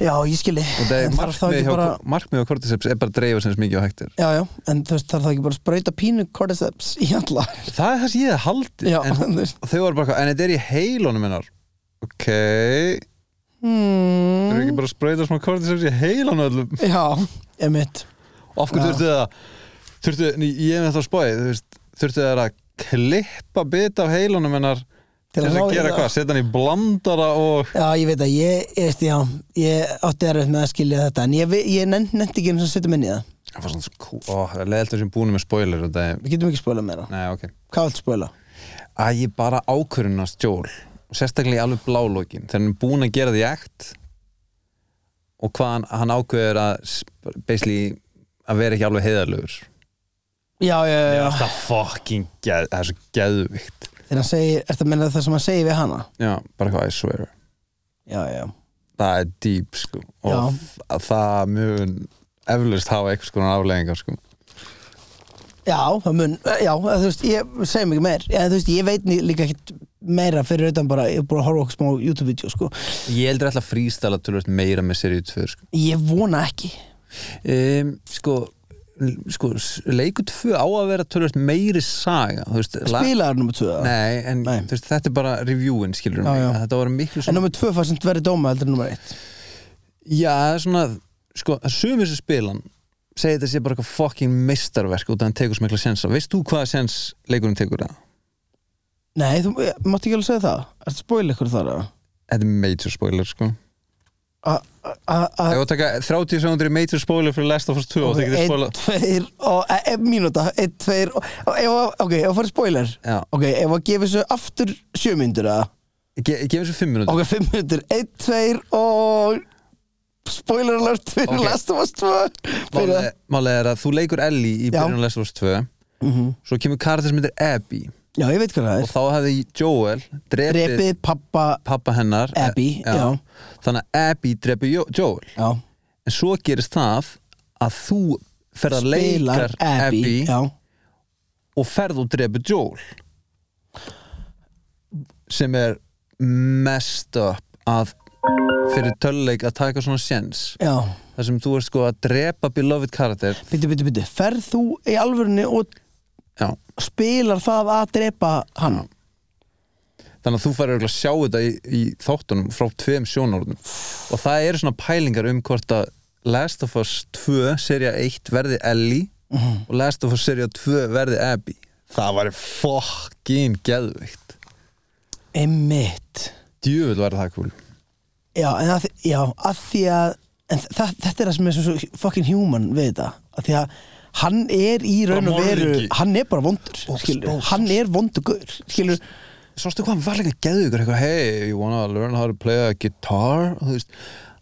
[SPEAKER 2] Já, ég skilji
[SPEAKER 1] og það er markmið, hjá, bara... markmið á Cordyceps er bara að dreifa sem mikið á hektir
[SPEAKER 2] Já, já, en þú veist, þarf það ekki bara að sprauta pínu cordyceps í alla
[SPEAKER 1] það er það sem ég hef haldið
[SPEAKER 2] Já,
[SPEAKER 1] en,
[SPEAKER 2] þú veist
[SPEAKER 1] og þau var bara, eitthvað, en þetta er í heilunum hennar ok Þeir eru
[SPEAKER 2] hmm.
[SPEAKER 1] ekki bara að spreita smá kortisepsi í heilan á öllum
[SPEAKER 2] Já, emitt
[SPEAKER 1] Af hverju
[SPEAKER 2] Já.
[SPEAKER 1] þurftu það þurftu, ný, Ég er með það spáið þú veist, Þurftu það að klippa bit af heilanum hennar
[SPEAKER 2] Til
[SPEAKER 1] Til
[SPEAKER 2] að
[SPEAKER 1] þess að
[SPEAKER 2] ná í
[SPEAKER 1] gera
[SPEAKER 2] það.
[SPEAKER 1] hvað, setja hann í blandara og
[SPEAKER 2] Já, ég veit að ég, ég veist, já, ég átti að með að skilja þetta En ég, vi- ég nefnt, nefnt ekki eins og setjum inn í það
[SPEAKER 1] Það var svona svo kú Ó, það er leðilt þessum búinu með spoiler og það er
[SPEAKER 2] Við getum ekki spóla meira
[SPEAKER 1] Nei, ok
[SPEAKER 2] Hvað viltu spóla?
[SPEAKER 1] Æ, ég bara ákvörðuna stjól og sérstaklega í alveg blálókin þegar hann er búin að gera því ekt og hvað hann, hann ákveður að s- basically að vera ekki alveg heiðarlegur
[SPEAKER 2] Já, já, já, já
[SPEAKER 1] Það fucking geð, það er svo geðvikt
[SPEAKER 2] Þegar hann segir, ertu að menna það sem hann segir við hana?
[SPEAKER 1] Já, bara hvað, I swear
[SPEAKER 2] Já, já
[SPEAKER 1] Það er deep, sko
[SPEAKER 2] Já.
[SPEAKER 1] og þ- það mun eflaust hafa einhvers konar afleggingar, sko
[SPEAKER 2] Já, það mun, já, eða þú veist, ég segjum ekki meir eða, þú veist, Ég veit ni- líka ekkert meira fyrir utan bara, ég er búin að horfa okkur smá YouTube-vídeó, sko
[SPEAKER 1] Ég heldur alltaf frístala tölvöld meira með serið 2, sko
[SPEAKER 2] Ég vona ekki
[SPEAKER 1] um, sko, l- sko s- leikur tvö á að vera tölvöld meiri saga þú veist, la-
[SPEAKER 2] Spilaður nummer 2
[SPEAKER 1] Nei, en
[SPEAKER 2] Nei.
[SPEAKER 1] Þú veist, þetta er bara reviewin, skilur
[SPEAKER 2] Já,
[SPEAKER 1] mig
[SPEAKER 2] já.
[SPEAKER 1] að Þetta var miklu
[SPEAKER 2] En
[SPEAKER 1] svona
[SPEAKER 2] nummer 2 fannst verið dóma heldur en nummer 1
[SPEAKER 1] Já, það er svona, sko, sumir sem spilan segir þetta sé bara eitthvað fucking meistarverk út að hann tekur svo mikla sensa Veist þú hvaða sens leikurinn tekur það?
[SPEAKER 2] Nei, þú ég- mátt ekki alveg segja það Ertu að spoila ykkur þar að
[SPEAKER 1] Þetta er major spoiler, sko
[SPEAKER 2] A- a- a-
[SPEAKER 1] Ef þú taka 30 sekundir í major spoiler fyrir Last of Us 2 og það getur
[SPEAKER 2] Einn,
[SPEAKER 1] spoila
[SPEAKER 2] tveir og e- e- mínúta Einn, tveir og og ef að- Ok, ef að fara spoiler
[SPEAKER 1] Já,
[SPEAKER 2] Ok, ef að gefa þessu aftur sjö myndur að
[SPEAKER 1] Ge gefum svo 5 minútur
[SPEAKER 2] Ok, fimm myndur Einn, tveir og Spoiler alert fyrir
[SPEAKER 1] Ok.
[SPEAKER 2] Last of Us 2 Fyrir það
[SPEAKER 1] Málega máli er að þú leikur Ellie í
[SPEAKER 2] Já.
[SPEAKER 1] byrjun á Last of Us 2
[SPEAKER 2] Mhm.
[SPEAKER 1] Svo kemur karakter sem heitir Abby
[SPEAKER 2] Já, ég veit hvað það
[SPEAKER 1] og
[SPEAKER 2] er
[SPEAKER 1] þá hefði Joel drepið
[SPEAKER 2] Repið, pappa,
[SPEAKER 1] pappa hennar
[SPEAKER 2] Abby,
[SPEAKER 1] Eh,
[SPEAKER 2] já.
[SPEAKER 1] Þannig að Abby drepi Jo- Joel
[SPEAKER 2] já
[SPEAKER 1] en svo gerist það að þú ferð að
[SPEAKER 2] Spilar
[SPEAKER 1] leikar Abby,
[SPEAKER 2] Abby Já,
[SPEAKER 1] og ferð og drepi Joel sem er messed up að fyrir töluleik að taka svona séns
[SPEAKER 2] já
[SPEAKER 1] þar sem þú ert sko að drepa beloved karakter
[SPEAKER 2] Byttu, byttu, byttu Ferð þú í alvörunni og
[SPEAKER 1] já.
[SPEAKER 2] spilar það að drepa hann
[SPEAKER 1] þannig að þú færir örugglega að sjá þetta í, í þáttunum frá tveim sjónarunum og það eru svona pælingar um hvort að Last of Us 2 serja 1 verði Ellie og Last of Us serja 2 verði Abby Mhm. það væri fokkin geðveikt
[SPEAKER 2] Einmitt
[SPEAKER 1] djöfull væri það kúl
[SPEAKER 2] Já, en að, já, að því að en það, þetta er það sem er svo, svo fucking human við þetta, að því að hann er í raun og veru,
[SPEAKER 1] morðingi.
[SPEAKER 2] hann er bara vondur
[SPEAKER 1] Bóks,
[SPEAKER 2] skilur,
[SPEAKER 1] bóks.
[SPEAKER 2] hann er vondugur skilur,
[SPEAKER 1] sástu hvað hann var líka geðveikur eitthvað hey you wanna learn how to play a guitar og þú veist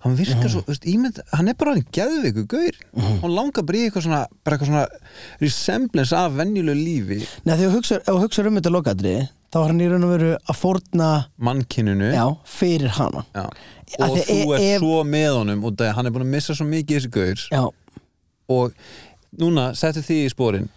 [SPEAKER 1] hann virkar svo, þú veist, ímynd, hann er bara hann geðveikur gaur, hann langar bara í eitthvað svona bara eitthvað svona resemblance af venjulegu lífi
[SPEAKER 2] neða þegar þú hugsar, ef þú hugsar um þetta lokadri, þá er hann í raun og veru að fórna,
[SPEAKER 1] mannkininu
[SPEAKER 2] já, fyrir hana
[SPEAKER 1] Já.
[SPEAKER 2] Af
[SPEAKER 1] og
[SPEAKER 2] því
[SPEAKER 1] þú
[SPEAKER 2] e-
[SPEAKER 1] ert
[SPEAKER 2] ef-
[SPEAKER 1] svo með honum og það, hann er búin að missa svo mikið í þessi gaur
[SPEAKER 2] já,
[SPEAKER 1] og núna settu því í spórin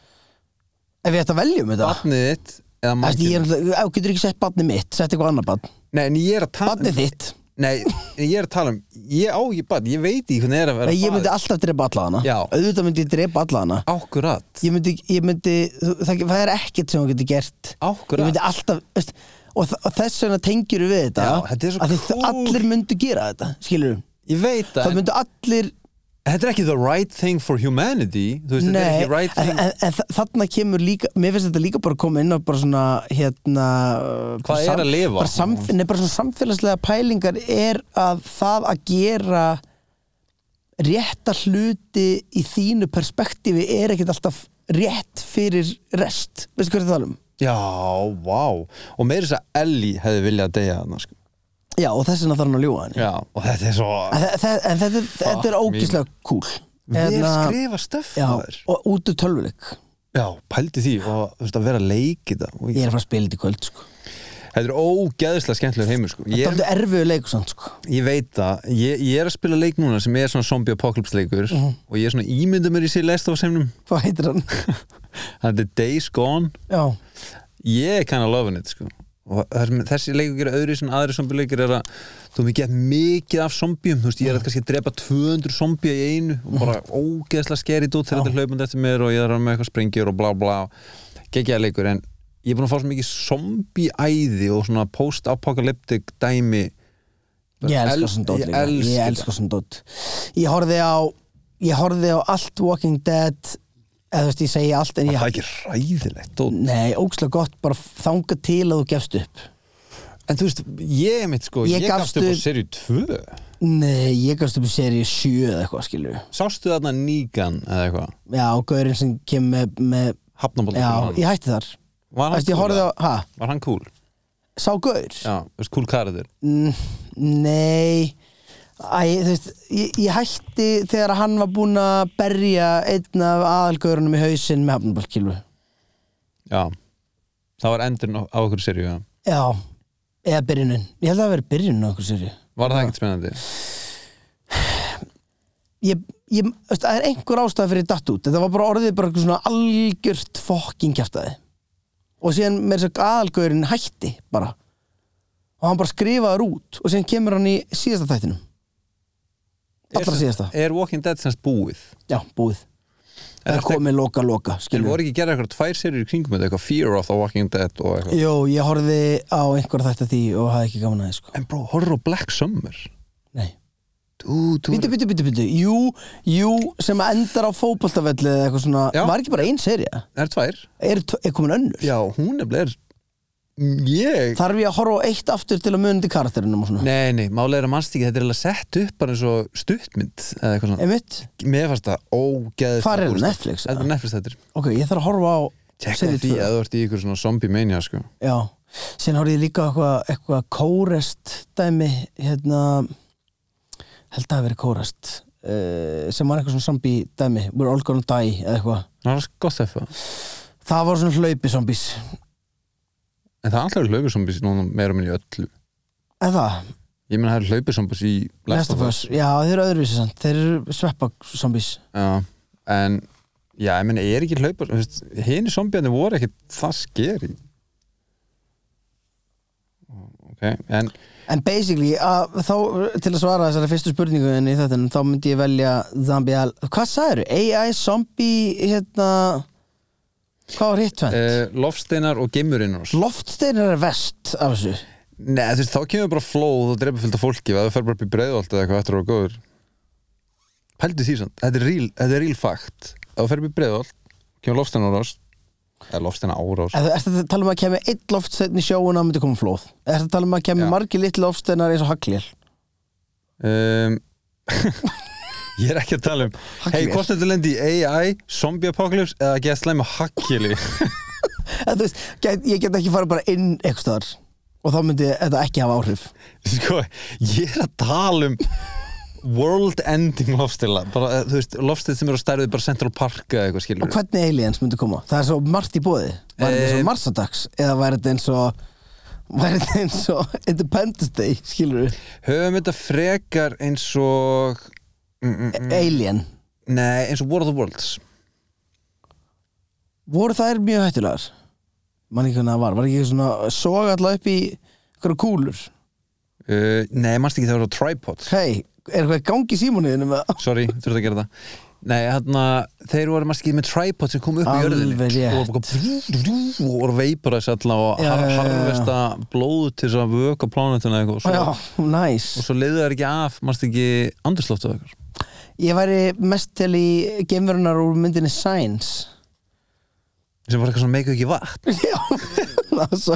[SPEAKER 2] ef ég ætti að velja um þetta
[SPEAKER 1] barnið þitt eða
[SPEAKER 2] Það veist, ég er
[SPEAKER 1] mannkininu
[SPEAKER 2] náttúrulega, ef þú getur ekki sett barnið mitt, sett eitthvað annað barn
[SPEAKER 1] nei, en ég er að tala um-
[SPEAKER 2] barnið þitt,
[SPEAKER 1] nei, en ég er að tala um ég á ekki barn, ég veit ekki hvernig er að vera
[SPEAKER 2] Nei, ég myndi
[SPEAKER 1] faðir.
[SPEAKER 2] alltaf drepa alla hana
[SPEAKER 1] Já.
[SPEAKER 2] auðvitað myndi ég drepa alla hana
[SPEAKER 1] Ákkurat,
[SPEAKER 2] ég myndi, ég myndi það, það er ekkert sem hún getur gert ég
[SPEAKER 1] ákkurat
[SPEAKER 2] myndi alltaf veist, og, þ- og þess vegna tengjur við þetta,
[SPEAKER 1] Já, þetta er svo
[SPEAKER 2] að
[SPEAKER 1] cool.
[SPEAKER 2] þið allir myndu gera þetta skilur við,
[SPEAKER 1] ég veit
[SPEAKER 2] það
[SPEAKER 1] það, en
[SPEAKER 2] myndu allir
[SPEAKER 1] þetta er ekki the right thing for humanity þú veist, þetta er
[SPEAKER 2] nei,
[SPEAKER 1] ekki right
[SPEAKER 2] en,
[SPEAKER 1] thing
[SPEAKER 2] en, en þa- þarna kemur líka mér finnst þetta líka bara að koma inn á bara svona hérna bara
[SPEAKER 1] Hvað er
[SPEAKER 2] sam-
[SPEAKER 1] að lifa?
[SPEAKER 2] bara, samf, nei, bara svona samfélagslega pælingar er að það að gera rétta hluti í þínu perspektífi er ekkert alltaf rétt fyrir rest veistu hvað ég er að tala um?
[SPEAKER 1] já, vá og meira þess að Ellie hefði viljað að deyja þarna sko.
[SPEAKER 2] Já, og þess vegna þarf hann að ljúga henni
[SPEAKER 1] já, og þetta er svo
[SPEAKER 2] En, þe- þe- en þetta, þetta er
[SPEAKER 1] Fuck
[SPEAKER 2] ógislega cool
[SPEAKER 1] vel
[SPEAKER 2] Hérna,
[SPEAKER 1] skrifa stöf
[SPEAKER 2] já, og út úr tölvuleik
[SPEAKER 1] Já, pældi því og þú veist að vera að leiki það og
[SPEAKER 2] ég er að fara að spila þetta í kvöld sko.
[SPEAKER 1] Þetta er ógeðslega skemmtilegur heimur sko.
[SPEAKER 2] þetta er
[SPEAKER 1] ég,
[SPEAKER 2] alltaf erfiðu leik samt, sko.
[SPEAKER 1] ég veit það, ég, ég er að spila leik núna sem er svona zombie apocalypse leikur og ég er svona ímynda mér í sér lest á semnum
[SPEAKER 2] hvað heitir hann?
[SPEAKER 1] Þetta er Days Gone
[SPEAKER 2] já,
[SPEAKER 1] Ég er kind of loving it sko. og það sem- þessi leikur gera öðru sem aðri zombie leikir er að þú hefur gett mikið af zombium þú veist, ég er að kannski að drepa 200 zombie í einu og bara ógeðslega skerið út þegar þetta er hlaupandi eftir mér og ég er að vera með eitthvað springjur og blá blá geggjaða leikur en ég er búin að fá svo mikið zombie-æði og svona post-apocalyptic dæmi
[SPEAKER 2] Ég elska
[SPEAKER 1] elsk-
[SPEAKER 2] svona dót
[SPEAKER 1] ég
[SPEAKER 2] líka Ég
[SPEAKER 1] elska
[SPEAKER 2] elska svona dót Ég horfði á Ég horfði á allt Walking Dead eða þú veist ég segi allt en ég
[SPEAKER 1] Það er ekki ræðilegt dót.
[SPEAKER 2] Nei, ógslag gott bara þanga til að þú gefst upp
[SPEAKER 1] En þú veist, ég mitt sko,
[SPEAKER 2] Ég
[SPEAKER 1] ég, gafst
[SPEAKER 2] gafst
[SPEAKER 1] upp á
[SPEAKER 2] upp-
[SPEAKER 1] serið 2
[SPEAKER 2] Nei, ég gafst upp í seríu 7 eða eitthvað skilur
[SPEAKER 1] Sástu þarna nýgan eða eitthvað
[SPEAKER 2] Já, gaurinn sem kem með, með
[SPEAKER 1] Hafnabóla
[SPEAKER 2] Já, ég hætti þar
[SPEAKER 1] Var
[SPEAKER 2] Þú
[SPEAKER 1] hann
[SPEAKER 2] veist, ég
[SPEAKER 1] cool?
[SPEAKER 2] horfði á,
[SPEAKER 1] eða?
[SPEAKER 2] ha,
[SPEAKER 1] Var hann cool?
[SPEAKER 2] sá gaur
[SPEAKER 1] Já, þú veist, cool kariður
[SPEAKER 2] Mm, Nei Æ, þú veist, ég, ég hætti þegar hann var búinn að berja einn af aðalgörunum í hausinn með hafnabalkilu
[SPEAKER 1] Já, það var endurinn á, á okkur serið já.
[SPEAKER 2] Já, eða byrjunin Ég held að það veri byrjunin á okkur sér
[SPEAKER 1] Var það ekkert spennandi?
[SPEAKER 2] ég, ég, þú veist, Það er einhver ástæð fyrir ég datt út Þetta var bara orðið bara eitthvað svona algjört fokking kjaftaði Og síðan með þess að aðalgörun hætti bara Og hann bara skrifaður út Og síðan kemur hann í síðasta þættinum Allra
[SPEAKER 1] Er-
[SPEAKER 2] síðasta
[SPEAKER 1] Er Walking Dead semst búið?
[SPEAKER 2] Já, búið Það er
[SPEAKER 1] eftir-
[SPEAKER 2] komið loka loka
[SPEAKER 1] En
[SPEAKER 2] skilur við.
[SPEAKER 1] voru ekki gerða eitthvað tvær serið í kringum þetta, eitthvað Fear of the Walking Dead og eitthvað
[SPEAKER 2] Jó, ég horfði á einhver þetta því og hafði ekki gaman að þið sko
[SPEAKER 1] En bró, horfðu á Black Summer
[SPEAKER 2] Nei
[SPEAKER 1] Þú, þú
[SPEAKER 2] Bítu, bítu, bítu, bítu Jú, jú, sem endar á fótboltavelli eða eitthvað svona
[SPEAKER 1] Já.
[SPEAKER 2] Var ekki bara ein serja?
[SPEAKER 1] Er tvær?
[SPEAKER 2] Er, tv- er komin önnur?
[SPEAKER 1] Já, hún er bleir Ég
[SPEAKER 2] Þarf ég að horfa á eitt aftur til að muni til karakterinum og svona?
[SPEAKER 1] Nei, nei, málega er að mannst ekki, þetta er alveg sett upp bara eins og stuttmynd eða eitthvað svona
[SPEAKER 2] Einmitt?
[SPEAKER 1] Mér fannst það ógeðið
[SPEAKER 2] Hvar er það? Netflix?
[SPEAKER 1] sko. Þetta er Netflix þetta
[SPEAKER 2] Ok, ég þarf að horfa á
[SPEAKER 1] Tjekka
[SPEAKER 2] seríu
[SPEAKER 1] því
[SPEAKER 2] tvö.
[SPEAKER 1] að þú ert í ykkur svona zombie mania sko
[SPEAKER 2] Já Síðan horfði ég líka á eitthvað, eitthvað kórest dæmi Hérna Held að það hafi verið kórest uh, Sem var eitthvað svona zombie dæmi We're all gonna die eða eitthvað
[SPEAKER 1] Það var gott effa En
[SPEAKER 2] Það var svona hlaupi zombies
[SPEAKER 1] það er alltaf hlaupið zombies núna meira minn í öllu
[SPEAKER 2] Eða,
[SPEAKER 1] Ég meina það er hlaupið zombies í
[SPEAKER 2] Last of Us Já, þeir eru öðruvísi samt Þeir eru sveppa zombies
[SPEAKER 1] Já, en Já, ég meina, er ekki hlaupar Hini zombiðandi voru ekkit það skeri Ok, en
[SPEAKER 2] En basically, að, þá, til að svara þessari fyrstu spurningu en í þetta, þá myndi ég velja Zombie Al... Hvað sagðirðu? AI, zombie, hérna... Hvað var hitt tvent?
[SPEAKER 1] uh, Lofsteinar og Gimmurinnars
[SPEAKER 2] Loftsteinar er vest af þessu.
[SPEAKER 1] Nei, þú veist, þá kemur bara flóð og drepa fullt af fólki ef þú fer bara upp í breiðholt eða eitthvað eftir að vera góður Pældu því samt, þetta er real, þetta er real fact ef þú fer upp í breiðholt, kemur lofsteina árás eða lofsteina árás
[SPEAKER 2] Er þetta að tala um að kemja einn loftstein í sjóun að myndi koma flóð? Er þetta að tala um að kemja
[SPEAKER 1] Já.
[SPEAKER 2] margir litli loftsteinar eins og haglél?
[SPEAKER 1] um, Ég er ekki að tala um Hei,
[SPEAKER 2] Haglél.
[SPEAKER 1] hvort þetta lendi í AI, zombie apocalypse eða að geta slæmi hakkili
[SPEAKER 2] En þú veist, get, ég get ekki farið bara inn eitthvað staðar og þá myndi þetta ekki hafa áhrif.
[SPEAKER 1] Sko, ég er að tala um world ending lofstila bara, eh, þú veist, lofstil sem eru á stærðið bara Central Park eða eitthvað skilur
[SPEAKER 2] Og hvernig aliens myndi koma? Það er svo margt í bóði Var þetta eins
[SPEAKER 1] Eh,
[SPEAKER 2] og Marsadags? Eða var þetta eins og Var þetta eins og Independence Day, skilur við?
[SPEAKER 1] höfum þetta frekar eins og Mm.
[SPEAKER 2] Alien
[SPEAKER 1] nei, eins og War of the Worlds
[SPEAKER 2] Voru þær mjög hættulegar? Man ekki hvernig það var Var ekki svona Soga alltaf upp í Hverju kúlur
[SPEAKER 1] uh, nei, mannst ekki það voru á tripods
[SPEAKER 2] Hei, er eitthvað í gangi í símuniðinu með
[SPEAKER 1] sorry, þurftu að gera það nei, þarna, þeir voru mannst ekki með tripods sem kom upp í
[SPEAKER 2] Alveg
[SPEAKER 1] jörðinni
[SPEAKER 2] rétt.
[SPEAKER 1] og voru bara brú, brú, og voru veipur þessi alltaf og
[SPEAKER 2] Já,
[SPEAKER 1] har,
[SPEAKER 2] já, já, já.
[SPEAKER 1] harfesta blóð til þess að vöka plánetuna eitthvað og
[SPEAKER 2] Já,
[SPEAKER 1] svo,
[SPEAKER 2] næs
[SPEAKER 1] og svo leiðu þær ekki af mannst ekki andurslóftu eitthvað
[SPEAKER 2] Ég væri mest til í geimverunar úr myndinni Science
[SPEAKER 1] sem var eitthvað svona meika ekki vatn
[SPEAKER 2] Já, það var svo,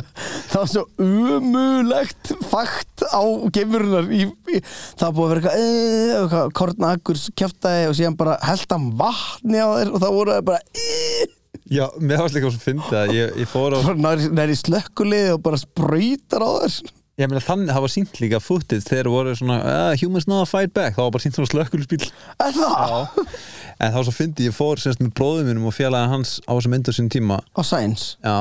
[SPEAKER 2] það var svo umulegt fakt á gemurinnar í, í, það var búið að vera eitthvað, eh, eitthvað kornakur kjaftaði og síðan bara held hann vatni á þeir og það voru þeir bara eh,
[SPEAKER 1] Já, mér varst líka svo fyndið að ég, ég fór á
[SPEAKER 2] bara nær, nær í slökkulið og bara spröytar á þeir
[SPEAKER 1] Ég meina þannig, það var sínt líka footage þegar voru svona, uh, humans not fight back þá var bara sínt svona slökkulisbíl
[SPEAKER 2] en það
[SPEAKER 1] en þá svo fyndi ég fór semst með bróðum mínum og félaga hans á þessum myndu sín tíma
[SPEAKER 2] á Science
[SPEAKER 1] Já,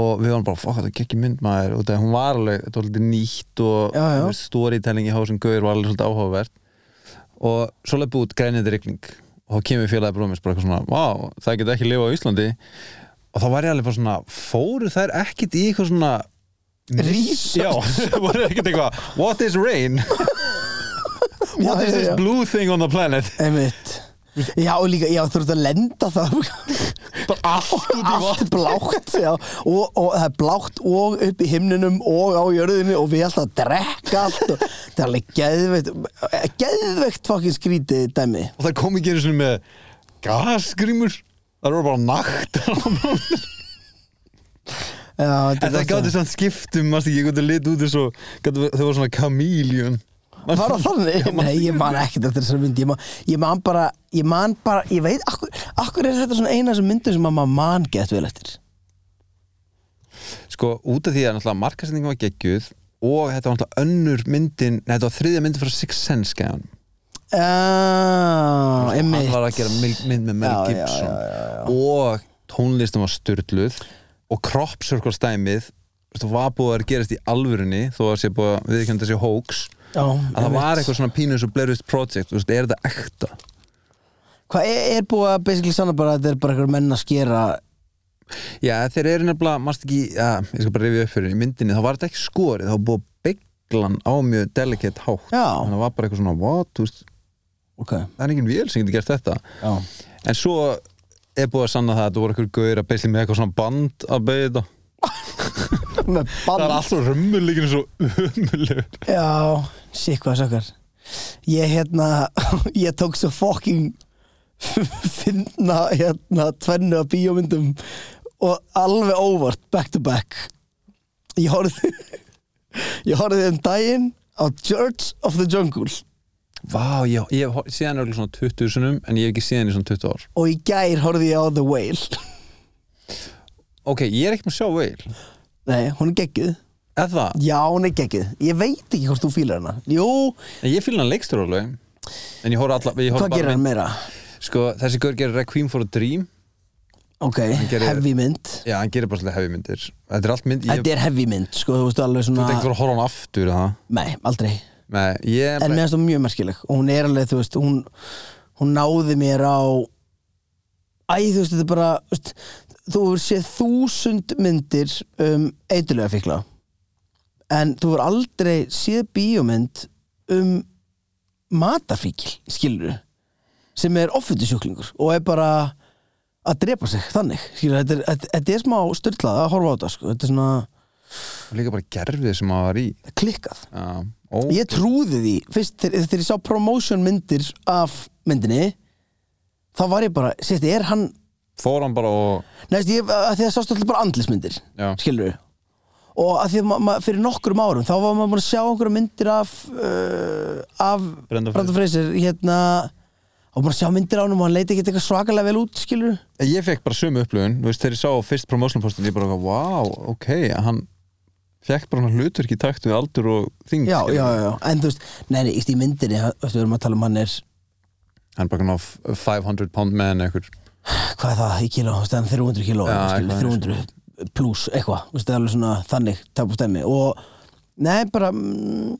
[SPEAKER 1] og við varum bara, fuck, þetta gekk í mynd maður og það, hún var alveg, þetta var alveg nýtt og
[SPEAKER 2] Já, já.
[SPEAKER 1] þú veist, storytelling í hásum gauður var alveg svolítið áhugavert og svo lefði út grænindi rigning og þá kemur félagi bróðum bara eitthvað svona, vá, það geti ekki lifa á Íslandi og þá var ég alveg bara svona fóru þær ekkit í eitthvað svona
[SPEAKER 2] Research.
[SPEAKER 1] Já, voru þær ekkit eitthvað What is rain?
[SPEAKER 2] Já,
[SPEAKER 1] What is
[SPEAKER 2] já,
[SPEAKER 1] this
[SPEAKER 2] já.
[SPEAKER 1] blue thing on the planet?
[SPEAKER 2] einmitt Já, og líka, já, þú ert að lenda það
[SPEAKER 1] bara allt út í
[SPEAKER 2] Allt blátt, já og, og það er blátt og upp í himninum og á jörðinni og við alltaf að drekka allt og það er alveg geðveikt geðveikt fokkin skrítið dæmi
[SPEAKER 1] og það kom ekki einu sinni með gasgrímur það voru bara nakt en
[SPEAKER 2] Já, þetta
[SPEAKER 1] það gæti samt skiptum mást ekki einhvern lit út eins og gátu, þau voru svona kamíljun
[SPEAKER 2] Var það þannig?
[SPEAKER 1] Já, man-
[SPEAKER 2] Nei, ég man ekkert eftir þessari mynd Ég man, ég man bara, ég man bara Ég veit, akkur, akkur er þetta svona eina þessum myndum sem að maður man gett vel eftir
[SPEAKER 1] sko út af því að náttúrulega markasendingin var geggjuð og þetta var náttúrulega önnur myndin nei, þetta var þriðja myndin frá Six Sense gæðan
[SPEAKER 2] Já,
[SPEAKER 1] hann
[SPEAKER 2] emmitt
[SPEAKER 1] var að gera mynd, mynd með Mel
[SPEAKER 2] Já, já,
[SPEAKER 1] Gibson og tónlistin var styrluð og crop circle stæmið þú var búið að gerast í alvörunni þó að sé búið að viðkjönda sé hoax
[SPEAKER 2] Já,
[SPEAKER 1] að það var
[SPEAKER 2] einmitt.
[SPEAKER 1] eitthvað svona pínu eins og Blair Witch Project þú veist, er þetta ekta?
[SPEAKER 2] Hvað er, er búið að basically sanna bara að þetta er bara eitthvað menn að skera
[SPEAKER 1] Já, þeir eru nefnilega, mást ekki ja, ég skal bara rifja upp fyrir þér, í myndinni, þá var þetta ekki skorið þá var búið að byggla hann á mjög delicate hátt,
[SPEAKER 2] Já.
[SPEAKER 1] þannig að það var bara eitthvað svona what, þú veist,
[SPEAKER 2] Ok,
[SPEAKER 1] það er engin vél sem getur gert þetta
[SPEAKER 2] já
[SPEAKER 1] en svo er búið að sanna það að þú voru eitthvað gauður að beisli með eitthvað svona band að beigja þetta
[SPEAKER 2] Með
[SPEAKER 1] það er
[SPEAKER 2] band
[SPEAKER 1] alltaf römmulegin eins og ummulegur
[SPEAKER 2] Já, sík hvað sökkar Ég hérna, ég tók svo fucking finna hérna tvennu af bíómyndum og alveg óvart back to back Ég horfði ég horfði um daginn á Church of the Jungle
[SPEAKER 1] Vá, ég, ég hef hor- séð hann örgulega svona 20 sunum en ég hef ekki séð hann í svona 20 ár
[SPEAKER 2] og í gær horfði ég á The Whale
[SPEAKER 1] Ok, ég er ekki með að sjá veil
[SPEAKER 2] Nei, hún er geggið
[SPEAKER 1] Eða,
[SPEAKER 2] Já, hún er geggið Ég veit ekki hvort þú fílar hana Jú,
[SPEAKER 1] ég fylg hann leikstur alveg en ég horf alla, ég horf
[SPEAKER 2] hvað
[SPEAKER 1] bara
[SPEAKER 2] gerir hann meira?
[SPEAKER 1] Sko, þessi gaur gerir Requiem for a Dream
[SPEAKER 2] Ok,
[SPEAKER 1] gerir-
[SPEAKER 2] heavy mynd
[SPEAKER 1] Já, hann gerir bara svolítið hefði myndir Þetta er allt mynd, ég
[SPEAKER 2] Þetta er heavy mynd, sko, þú veist alveg
[SPEAKER 1] þetta
[SPEAKER 2] svona
[SPEAKER 1] er ekkert að horfa á hann aftur eða það
[SPEAKER 2] Nei, aldrei
[SPEAKER 1] Nei, ég
[SPEAKER 2] en mér finnst hún mjög merkileg og hún er alveg, þú veist, hún, hún náði mér á æ, þú veist, þetta er bara þú veist, þú hefur séð þúsund myndir um eitulega fíkla en þú hefur aldrei séð bíómynd um matafíkil, skilur sem er offutusjúklingur og er bara að drepa sig þannig, skilur, þetta er, þetta, þetta er smá styrlað að horfa á þetta, sko, þetta er svona
[SPEAKER 1] líka bara gerfið sem hann var í
[SPEAKER 2] klikkað
[SPEAKER 1] Já, ó,
[SPEAKER 2] ég trúði því fyrst þegar, þegar ég sá promotion myndir af myndinni þá var ég bara, sétti, er hann
[SPEAKER 1] fór hann bara og
[SPEAKER 2] neðst, ég, að því að sástu alltaf bara andlismyndir
[SPEAKER 1] Já.
[SPEAKER 2] skilur við og að því að ma ma fyrir nokkrum árum þá var maður búin að sjá einhverja myndir af uh, af
[SPEAKER 1] Brendan
[SPEAKER 2] Brandon Fraser hérna, og búin að sjá myndir á hann og hann leiti ekki eitthvað svakalega vel út skilur
[SPEAKER 1] Ég fekk bara sömu upplöfun, þú veist, þegar ég sá fyrst promotion postin, ég bara, wow, ok hann fekk bara hann hlutverk í takt við aldur og þing
[SPEAKER 2] já,
[SPEAKER 1] skilur.
[SPEAKER 2] já, já, en þú veist, neðni, í myndinni þú veist, við erum að tala um hann er
[SPEAKER 1] hann bara kannar 500 pound man eitthvað
[SPEAKER 2] hvað er það í kíló, þú veist, en 300 kíló
[SPEAKER 1] Já,
[SPEAKER 2] eða skilur,
[SPEAKER 1] eitthvað
[SPEAKER 2] 300 pluss eitthvað, þú veist, það er alveg svona þannig tapu stemmi og nei, bara mm,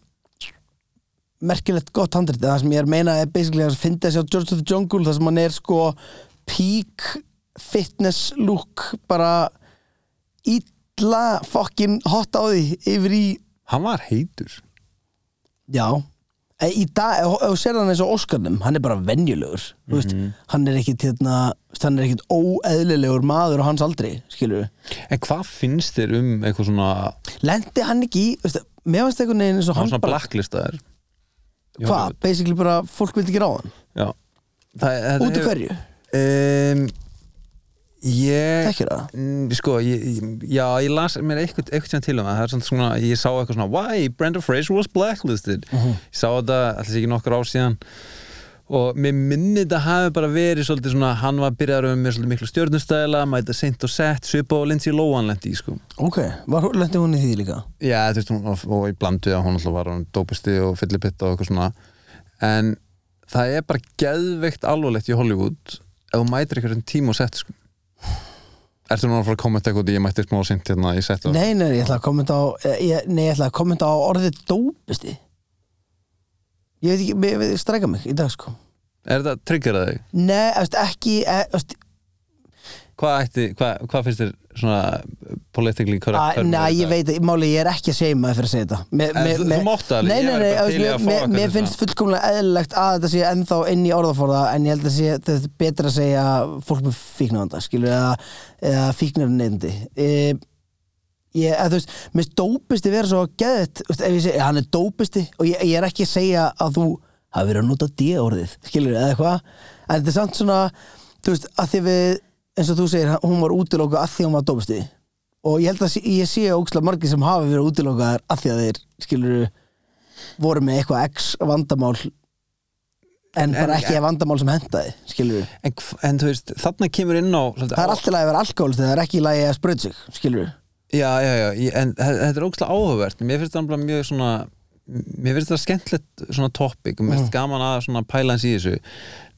[SPEAKER 2] merkilegt gott handrit, það sem ég er að meina er basically að finna þessi á George of the Jungle það sem hann er sko peak fitness look bara illa fokkin hot á því yfir í,
[SPEAKER 1] hann var heitur
[SPEAKER 2] já e, í dag, ef ef þú sér hann eins og Óskarnum hann er bara venjulegur, þú veist hann er ekkit hérna, þú veist, hann er ekkit óeðlilegur maður á hans aldri, skilur við
[SPEAKER 1] en hvað finnst þér um eitthvað svona hann
[SPEAKER 2] lendi hann ekki í veist, mér veist einhvern veginn eins og hann
[SPEAKER 1] svona
[SPEAKER 2] bara
[SPEAKER 1] blacklistaður Í
[SPEAKER 2] hvað,
[SPEAKER 1] Hollywood.
[SPEAKER 2] basically bara fólk vildi ekki ráða hann
[SPEAKER 1] Já. Það, þetta
[SPEAKER 2] út af
[SPEAKER 1] hefur-
[SPEAKER 2] hverju,
[SPEAKER 1] um, ég
[SPEAKER 2] þekkir það
[SPEAKER 1] Mm, sko, ég, ég- já, ég las mér eitthvað, eitthvað tíma til um það, það er samt svona ég sá eitthvað svona, why Brenda Fraser was blacklisted
[SPEAKER 2] Mhm.
[SPEAKER 1] ég sá þetta, alls ekki nokkur ár síðan og mér minni þetta hafi bara verið svolítið svona, hann var byrjaður um með svolítið miklu stjörnustæla, mæta seint og sett svipa og Lindsay Lohan lendi í sko
[SPEAKER 2] ok, var, lendi hún í því líka
[SPEAKER 1] já, þú veist, hún, og, og í bland við að hún alltaf var hún dópisti og fyllipitta og eitthvað svona en það er bara geðveikt alvarlegt í Hollywood ef þú mætir einhverjum tíma og sett sko Ertu núna að fara að kommenta eitthvað út í ég mætti smá sint hérna í setta?
[SPEAKER 2] nei, nei, ég ætla að kommenta á eh, ég, nei, ég ætla að kommenta á orðið dópisti ég veit ekki, ég veit, stræka mig í dag sko
[SPEAKER 1] Er þetta triggerað þig?
[SPEAKER 2] nei, þú eh, veist, ekki, e, þú veist,
[SPEAKER 1] Hvað, ætti, hvað, hvað finnst þér svona politically correct
[SPEAKER 2] Æ,
[SPEAKER 1] term
[SPEAKER 2] Nei,
[SPEAKER 1] í
[SPEAKER 2] ég
[SPEAKER 1] dag.
[SPEAKER 2] veit, máli, ég er ekki að segja maður fyrir að segja þetta Me-
[SPEAKER 1] En
[SPEAKER 2] me-
[SPEAKER 1] þú-
[SPEAKER 2] me-
[SPEAKER 1] þú mátt það alveg,
[SPEAKER 2] Nei,
[SPEAKER 1] ég
[SPEAKER 2] nei,
[SPEAKER 1] er
[SPEAKER 2] nei,
[SPEAKER 1] bara
[SPEAKER 2] þú
[SPEAKER 1] til í
[SPEAKER 2] veist,
[SPEAKER 1] að fá
[SPEAKER 2] mér-
[SPEAKER 1] eitthvað
[SPEAKER 2] mér
[SPEAKER 1] til
[SPEAKER 2] finnst fullkomlega eðlilegt að þetta sé ennþá inn í orðaforða en ég held að sé, þetta er betra að segja fólk með fíknavanda, skilur eða, eða fíknar neyndi e, ég, eða, þú veist, mér finnst dópisti vera svo geðið, ef ég segi, hann er dópisti og ég, ég er ekki að segja að þú hafi verið að nota D-orðið, skilur eða eitthvað, en þetta er samt svona þú veist, að því við, eins og þú segir hún var útilókuð að því hún var dópisti og ég held að sé, ég sé ógslag margir sem hafa verið útilokaðar af því að þeir skilur voru með eitthvað x vandamál en bara
[SPEAKER 1] En-
[SPEAKER 2] ekki vandamál sem hendaði skilur
[SPEAKER 1] en, hv- en þú veist, þarna kemur inn á svolítið,
[SPEAKER 2] það er
[SPEAKER 1] á-
[SPEAKER 2] alltaf að vera alkohol þegar það er ekki í lagi að spröð sig skilur
[SPEAKER 1] já, já, já, ég, en þe- þetta er ógstlega áhugavert mér finnst það nefnilega mjög svona mér finnst það skemmtilegt svona topic og mér
[SPEAKER 2] Mm.
[SPEAKER 1] finnst gaman að svona pæla hans í þessu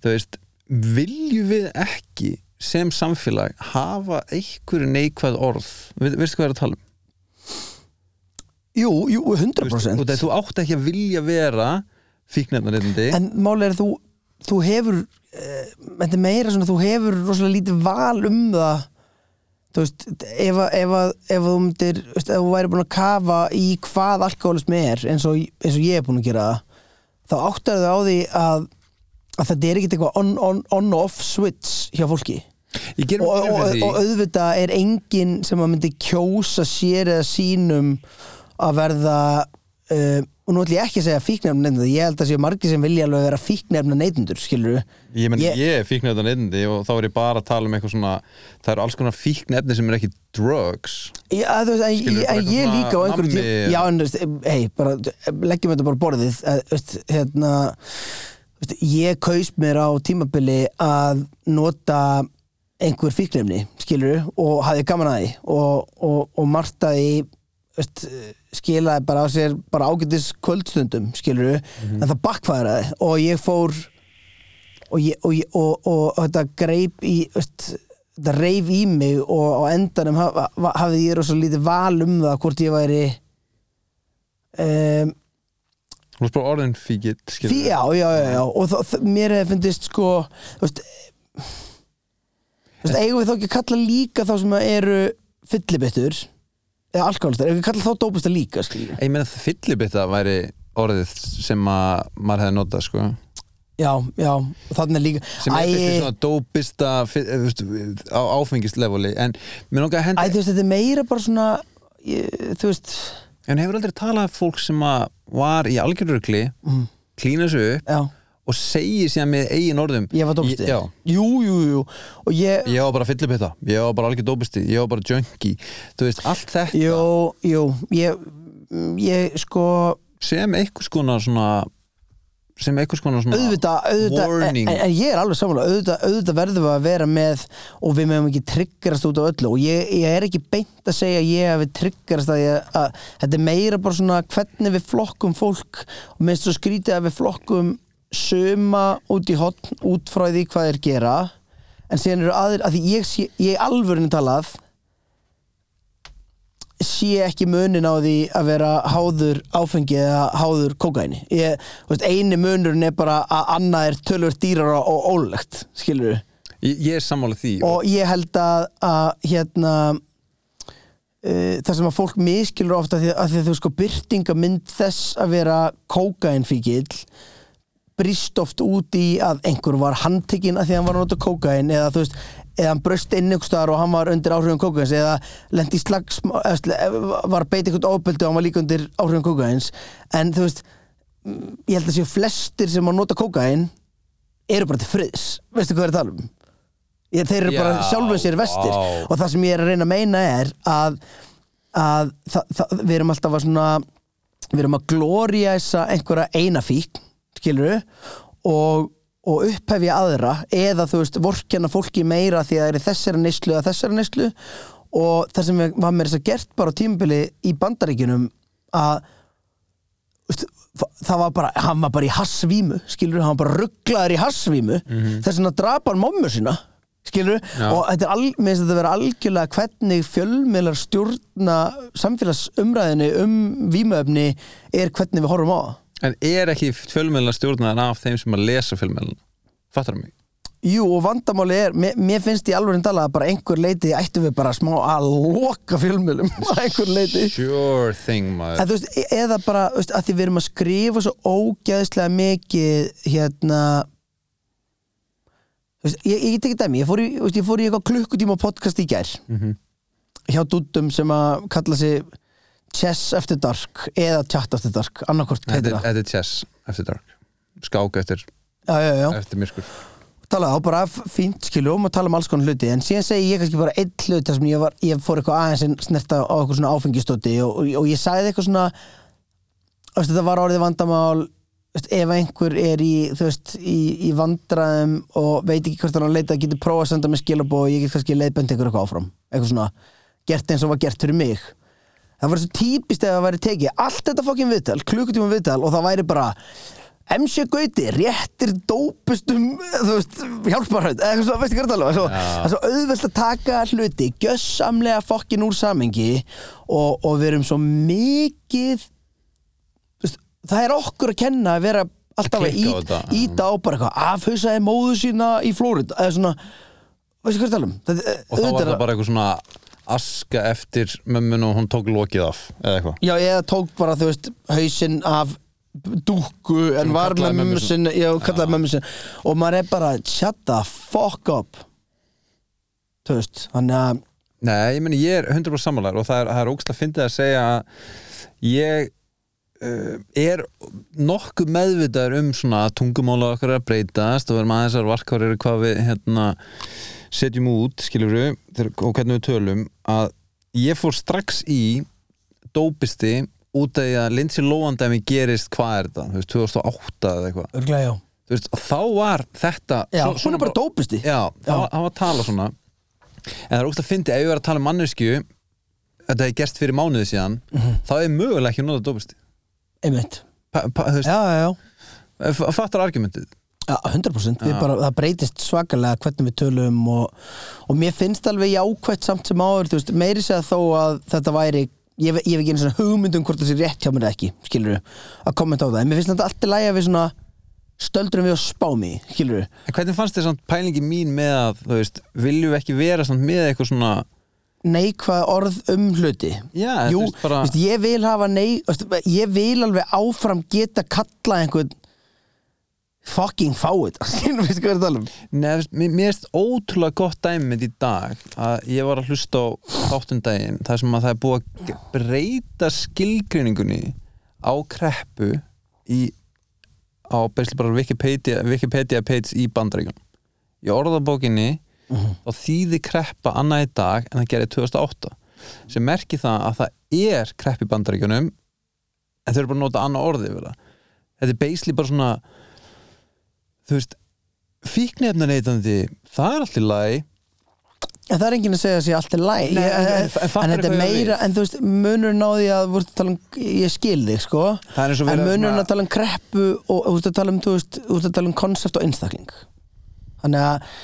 [SPEAKER 1] þú veist, viljum við ekki sem samfélag hafa einhverju neikvæð orð Ve- veistu hvað ég er að tala um?
[SPEAKER 2] jú, jú,
[SPEAKER 1] Þú veist, út
[SPEAKER 2] 100%
[SPEAKER 1] af því Þú átt ekki að vilja vera fíknefnarreitandi
[SPEAKER 2] en mál er að þú þú hefur eh, þetta er meira svona þú hefur rosalega lítið val um það þú veist ef, að- ef, að- ef að þú myndir þú veist, ef þú væri búin að kafa í hvað alkoholismi er eins og, eins og ég er búin að gera það þá áttar þau á því að, að þetta er ekkert eitthvað on- on- on-off switch hjá fólki
[SPEAKER 1] Ég gerum og,
[SPEAKER 2] og, og,
[SPEAKER 1] fyrir því
[SPEAKER 2] og auðvitað er enginn sem að myndi kjósa sér eða sínum að verða uh, og nú ætlum ég ekki að segja fíknefna neytendur ég held að séu margir sem vilja alveg vera fíknefna neytendur skilur
[SPEAKER 1] Ég menn,
[SPEAKER 2] ég-
[SPEAKER 1] ég, ég er fíknefnarreitandi og þá er ég bara að tala um eitthvað svona Það eru alls konar fíknefni sem er ekki drugs
[SPEAKER 2] Já, þú veist, en,
[SPEAKER 1] Skilurðu,
[SPEAKER 2] ég-
[SPEAKER 1] bara
[SPEAKER 2] en ég
[SPEAKER 1] eitthvað
[SPEAKER 2] líka á
[SPEAKER 1] svona
[SPEAKER 2] einhverju tíma
[SPEAKER 1] nammi-
[SPEAKER 2] Já, en, þú veist, hei, bara leggjum þetta bara á borðið að, þú veist, hérna þú veist, ég kaus mér á tímabili að nota einhver fíknefni, skilur og hafði gaman að því og, og, og martaði veist, skilaði bara á sér bara ágætis kvöldstundum, skilur en það bakfæraði og ég fór og, ég, og, ég, og, og, og þetta greip í veist, þetta reif í mig og á endanum haf, haf- hafði ég rosa lítið val um það hvort ég væri um,
[SPEAKER 1] Þú veist bara orðin fíkitt
[SPEAKER 2] fí, já, já, já, já og þó, þ- mér hefði fundist sko þú veist, þú veist, eigum við þá ekki að kalla líka þá sem að eru fyllibittur eða alkoholistar, eigum við að kalla þá dópista líka skilur.
[SPEAKER 1] Ég meina það fyllibitta væri orðið sem að maður hefði notað sko
[SPEAKER 2] já, já, og þannig líka
[SPEAKER 1] sem er
[SPEAKER 2] Æ,
[SPEAKER 1] eitthvað svona dópista fi- eh, þú veist, á áfengisleveli en, mér langar að henda-
[SPEAKER 2] Æ, þú veist, þetta er meira bara svona ég, þú veist,
[SPEAKER 1] en hefur aldrei talað um fólk sem að var í algjörurugli mm. klína sig upp
[SPEAKER 2] já
[SPEAKER 1] og segir síðan með eigin orðum
[SPEAKER 2] Ég var dópsti
[SPEAKER 1] Ég- Já,
[SPEAKER 2] Jú, jú, jú Og ég,
[SPEAKER 1] ég var bara fyllibita, ég var bara algjör dópisti ég var bara junkie, þú veist, allt þetta
[SPEAKER 2] jú, jú Ég, ég sko
[SPEAKER 1] sem einhvers konar svona sem einhvers konar svona
[SPEAKER 2] Auðvitað, auðvitað eh, en,
[SPEAKER 1] warning
[SPEAKER 2] en en ég er alveg samanlega auðvitað, auðvitað verðum við að vera með Og við meðum ekki triggerast út af öllu Og ég, ég er ekki beint að segja að Ég hafi triggerast að, ég, að Þetta er meira bara svona Hvernig við flokkum fólk Og minnst svo skrítið að við flokkum Suma út í hotn Út frá því hvað þeir gera En síðan eru aðrir, að því ég, sé- ég alvörinu talað sé ekki munin á því að vera háður áfengi eða háður kókaini ég, þú veist, eini munurinn er bara að annað er tölvöld dýrar og ólegt skilur
[SPEAKER 1] ég, ég er sammála því og,
[SPEAKER 2] og ég held að, að hérna uh, það sem að fólk miskilur ofta að því að því að þú sko byrtingamynd þess að vera kókainfíkil brist oft út í að einhver var handtekinn að því að hann var að nota kókain eða þú veist, eða hann bröst inn einhvers staðar og hann var undir áhrifum kókains eða lendi í slags var beit einhvern ofbeldi og hann var líka undir áhrifum kókains en þú veist mm, ég held að séu flestir sem að nota kókain eru bara til friðs veistu hvað er að tala um ég, þeir eru
[SPEAKER 1] Já,
[SPEAKER 2] bara sjálfum sér vestir
[SPEAKER 1] vá.
[SPEAKER 2] og það sem ég er að reyna að meina er að, að það, það, við erum alltaf að svona við erum að glóriæsa einhverja eina fík skilur og, og upphefja aðra eða þú veist, vorkenna fólki meira því að það er í þessari neyslu eða þessari neyslu og það sem var mér þess að gert bara á tímabili í bandaríkjunum að þú veist, það var bara, hann var bara í hassvímu skilur, hann var bara rugglaður í hassvímu þess vegna drapa hann mommu sína skilur,
[SPEAKER 1] Já.
[SPEAKER 2] og þetta er al, mér finnst þetta vera algjörlega hvernig fjölmiðlar stjórna samfélagsumræðinu um vímuefni er hvernig við horfum á það
[SPEAKER 1] en er ekki fjölmjölna stjórnaðan af þeim sem að lesa fjölmjölna fattar mig
[SPEAKER 2] Jú, og vandamáli er, mér, mér finnst í alveg en talað að bara einhver leiti ættum við bara smá að loka fjölmjölum að einhver leiti
[SPEAKER 1] Sure thing, maður
[SPEAKER 2] En þú veist, e- eða bara, þú veist, að því við erum að skrifa svo ógæðslega mikið, hérna, þú veist, ég, ég tekið dæmi, ég fór í, þú veist, ég fór í eitthvað klukkutíma podcast í gær,
[SPEAKER 1] Mhm.
[SPEAKER 2] hjá dúttum sem að kalla sig Chess After Dark eða Chat After Dark, annarkvort, hvað
[SPEAKER 1] Þetta
[SPEAKER 2] heitir
[SPEAKER 1] er-
[SPEAKER 2] það?
[SPEAKER 1] þetta er chess eftir dark Skák eftir,
[SPEAKER 2] Já, já, já,
[SPEAKER 1] eftir myrkur
[SPEAKER 2] talaði á bara f- fínt, skilju, um að tala um alls konar hluti, en síðan segi ég kannski bara einn hlut þar sem ég, var, ég fór eitthvað aðeins en snerta á eitthvað svona áfengistóti og, og, og ég sagði eitthvað svona, þú veist, þetta var orðið vandamál þú veist, ef einhver er í, þú veist, í, í vandræðum og veit ekki hvort hann á að leita getur prófað að senda mig skilabóð og ég get kannski leiðbend ykkur eitthvað áfram eitthvað svona, gert eins og var gert fyrir mig það var svo típist ef það væri tekið allt þetta fokkin viðtal, klukkutíma viðtal og það væri bara MC Gauti, réttir dópustum þú veist, hjálparhætt eða eitthvað svo, veistu hvað það alveg svo,
[SPEAKER 1] Já.
[SPEAKER 2] það er svo auðvelt að taka hluti, gjössamlega fokkin úr samengi og, og við erum svo mikið þú veist, það er okkur að kenna að vera alltaf
[SPEAKER 1] Klikka á
[SPEAKER 2] að ít,
[SPEAKER 1] þetta, já.
[SPEAKER 2] íta á bara eitthvað afhauðsaði móðu sína í Flórit eða svona, veistu hvað ég er að tala um Þetta,
[SPEAKER 1] Og þá
[SPEAKER 2] auðvitað
[SPEAKER 1] var
[SPEAKER 2] er
[SPEAKER 1] það bara eitthvað svona aska eftir mömmun og hún tók lokið af eða eitthvað
[SPEAKER 2] já, eða tók bara, þú veist, hausinn af dúkku en
[SPEAKER 1] Sem
[SPEAKER 2] var
[SPEAKER 1] kallaði
[SPEAKER 2] með
[SPEAKER 1] mömmu
[SPEAKER 2] mömmu
[SPEAKER 1] sinni.
[SPEAKER 2] sinni já, kallaði mömmu sinni og maður er bara, shut the fuck up þú veist, þannig að
[SPEAKER 1] Nei, ég meni ég er 100% sammálar og það er, það er ógst að fyndið að segja að ég uh, er nokkuð meðvitaður um svona að tungumála okkar er að breytast og við erum aðeins að varkára eru hvað við hérna, setjum út, skiljum við og hvernig við tölum að ég fór strax í dópisti út af því að Lindsay Lohan dæmi gerist hvað er þetta, þú veist, 2008 eða eitthvað
[SPEAKER 2] örglega, já,
[SPEAKER 1] þú veist, og þá var þetta
[SPEAKER 2] já
[SPEAKER 1] svo-
[SPEAKER 2] hún
[SPEAKER 1] svona
[SPEAKER 2] er bara dópisti
[SPEAKER 1] Já, það var, það var að tala svona En það er ógst að fyndi, ef ég var að tala um mannesku Þetta hefði gerst fyrir mánuði síðan Þá er mögulega ekki að nota dópusti
[SPEAKER 2] einmitt,
[SPEAKER 1] pa, pa, Þú
[SPEAKER 2] já, já, já
[SPEAKER 1] veist, ja. fattar argumentið
[SPEAKER 2] Já, 100% Við bara, það breytist svakalega hvernig við tölum og, og mér finnst alveg jákvætt samt sem áður, þú veist, meiri segja þó að þetta væri, ég, hef- ég hef ekki einu svona hugmynd um hvort það sé rétt hjá mér eða ekki, skilur að kommenta á það, en mér finnst þetta alltaf lægja við svona stöldurum við að spá mig, skilur
[SPEAKER 1] En hvernig fannst þér samt pælingi mín með að Þú veist, viljum við ekki vera samt með eitthvað svona
[SPEAKER 2] neikvað orð um hluti
[SPEAKER 1] Já, þú
[SPEAKER 2] Jú,
[SPEAKER 1] veist, bara-
[SPEAKER 2] veist, ég vil hafa nei veist, ég vil alveg áfram geta kalla einhvern fucking fáið, skilur við hvað ég er að tala um
[SPEAKER 1] Nei, þú veist, mér mér finnst ótrúlega gott dæmið í dag að ég var að hlusta á þáttundaginn þar sem að það er búið að ge- breyta skilgreiningunni á kreppu í, á basically bara Wikipedia, Wikipedia page í bandaríkjum í orðabókinni mm og þýði kreppa annað í dag en það gerði 2008 sem merki það að það er krepp í bandaríkjunum en þau eru bara að nota annað orðið yfir það þetta er basically bara svona þú veist fíknefna neytandi, það er allt í lagi
[SPEAKER 2] En það er enginn að segja að sé allt er læg
[SPEAKER 1] Nei,
[SPEAKER 2] Ég-
[SPEAKER 1] en- en-
[SPEAKER 2] En
[SPEAKER 1] en fattar
[SPEAKER 2] en þetta er
[SPEAKER 1] hvað ég á
[SPEAKER 2] meira
[SPEAKER 1] við?
[SPEAKER 2] En þú veist, munurinn á því að voru að tala um, Ég skil þig, sko
[SPEAKER 1] Það er eins og
[SPEAKER 2] En
[SPEAKER 1] verið að
[SPEAKER 2] munurinn
[SPEAKER 1] svona-
[SPEAKER 2] að tala um kreppu Og þú veist að tala um, þú veist Þú veist að tala um konsept og einstakling Þannig að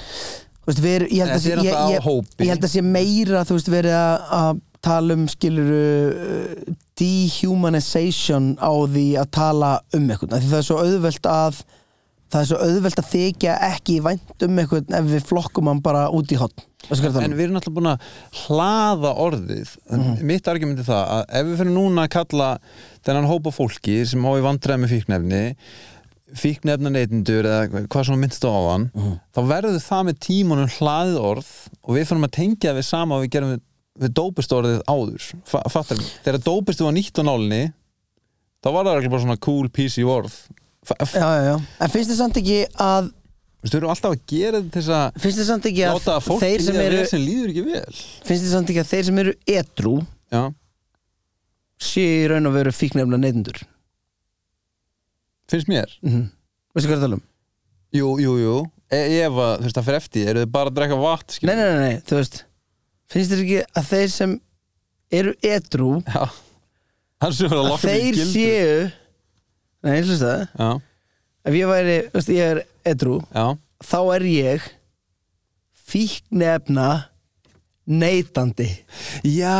[SPEAKER 2] Þú veist, við, ég, held
[SPEAKER 1] Nei,
[SPEAKER 2] að sé,
[SPEAKER 1] þið er
[SPEAKER 2] ég,
[SPEAKER 1] náttúrulega á
[SPEAKER 2] ég,
[SPEAKER 1] hópi.
[SPEAKER 2] ég held að sé meira Þú veist, verið að, að tala um Skiluru uh, Dehumanization á því að tala um eitthvað Því það er svo auðvelt að Það er svo auðvelt að þykja ekki vænt um eitthvað ef við flokkum hann bara út í hotn. um?
[SPEAKER 1] en við erum alltaf búin að hlaða orðið
[SPEAKER 2] Mhm.
[SPEAKER 1] mitt argument er það að ef við fyrir núna að kalla þennan hópa fólki sem á í vandræði með fíknefni fíknefna neytendur eða hvað svona minnst á áðan
[SPEAKER 2] Mhm.
[SPEAKER 1] þá verður það með tímanum hlaðið orð og við fyrir að tengja það við sama og við gerum við, við dópist orðið áður Fa- fattar mig, þegar dópistu var nýtt á nálinni þá var það ekki bara svona cool PC orð Fa- f-
[SPEAKER 2] já, já, já. En finnst þið samt ekki að
[SPEAKER 1] Þú erum alltaf að gera þetta til þess að
[SPEAKER 2] finnst þið samt ekki að
[SPEAKER 1] láta að fólk
[SPEAKER 2] þeir sem eru
[SPEAKER 1] sem líður ekki vel
[SPEAKER 2] finnst þið samt ekki að þeir sem eru edrú
[SPEAKER 1] já,
[SPEAKER 2] séu í raun og veru fíknefna neytendur
[SPEAKER 1] finnst mér
[SPEAKER 2] mm -hmm. Veistu hvað ég er að tala um?
[SPEAKER 1] jú, jú, jú, e ef að þú veist það fyrir eftir, eru þið bara að drekka vatn
[SPEAKER 2] Nei, nei, nei, nei, þú veist Finnst þið ekki að þeir sem eru edrú
[SPEAKER 1] já hann sem verður að
[SPEAKER 2] að
[SPEAKER 1] lokka mig í
[SPEAKER 2] þeir
[SPEAKER 1] gildu.
[SPEAKER 2] séu Nei, ég hlusta það
[SPEAKER 1] já,
[SPEAKER 2] Ef ég væri, þú veist, ég er edrú
[SPEAKER 1] já,
[SPEAKER 2] þá er ég fíknefna neytandi
[SPEAKER 1] já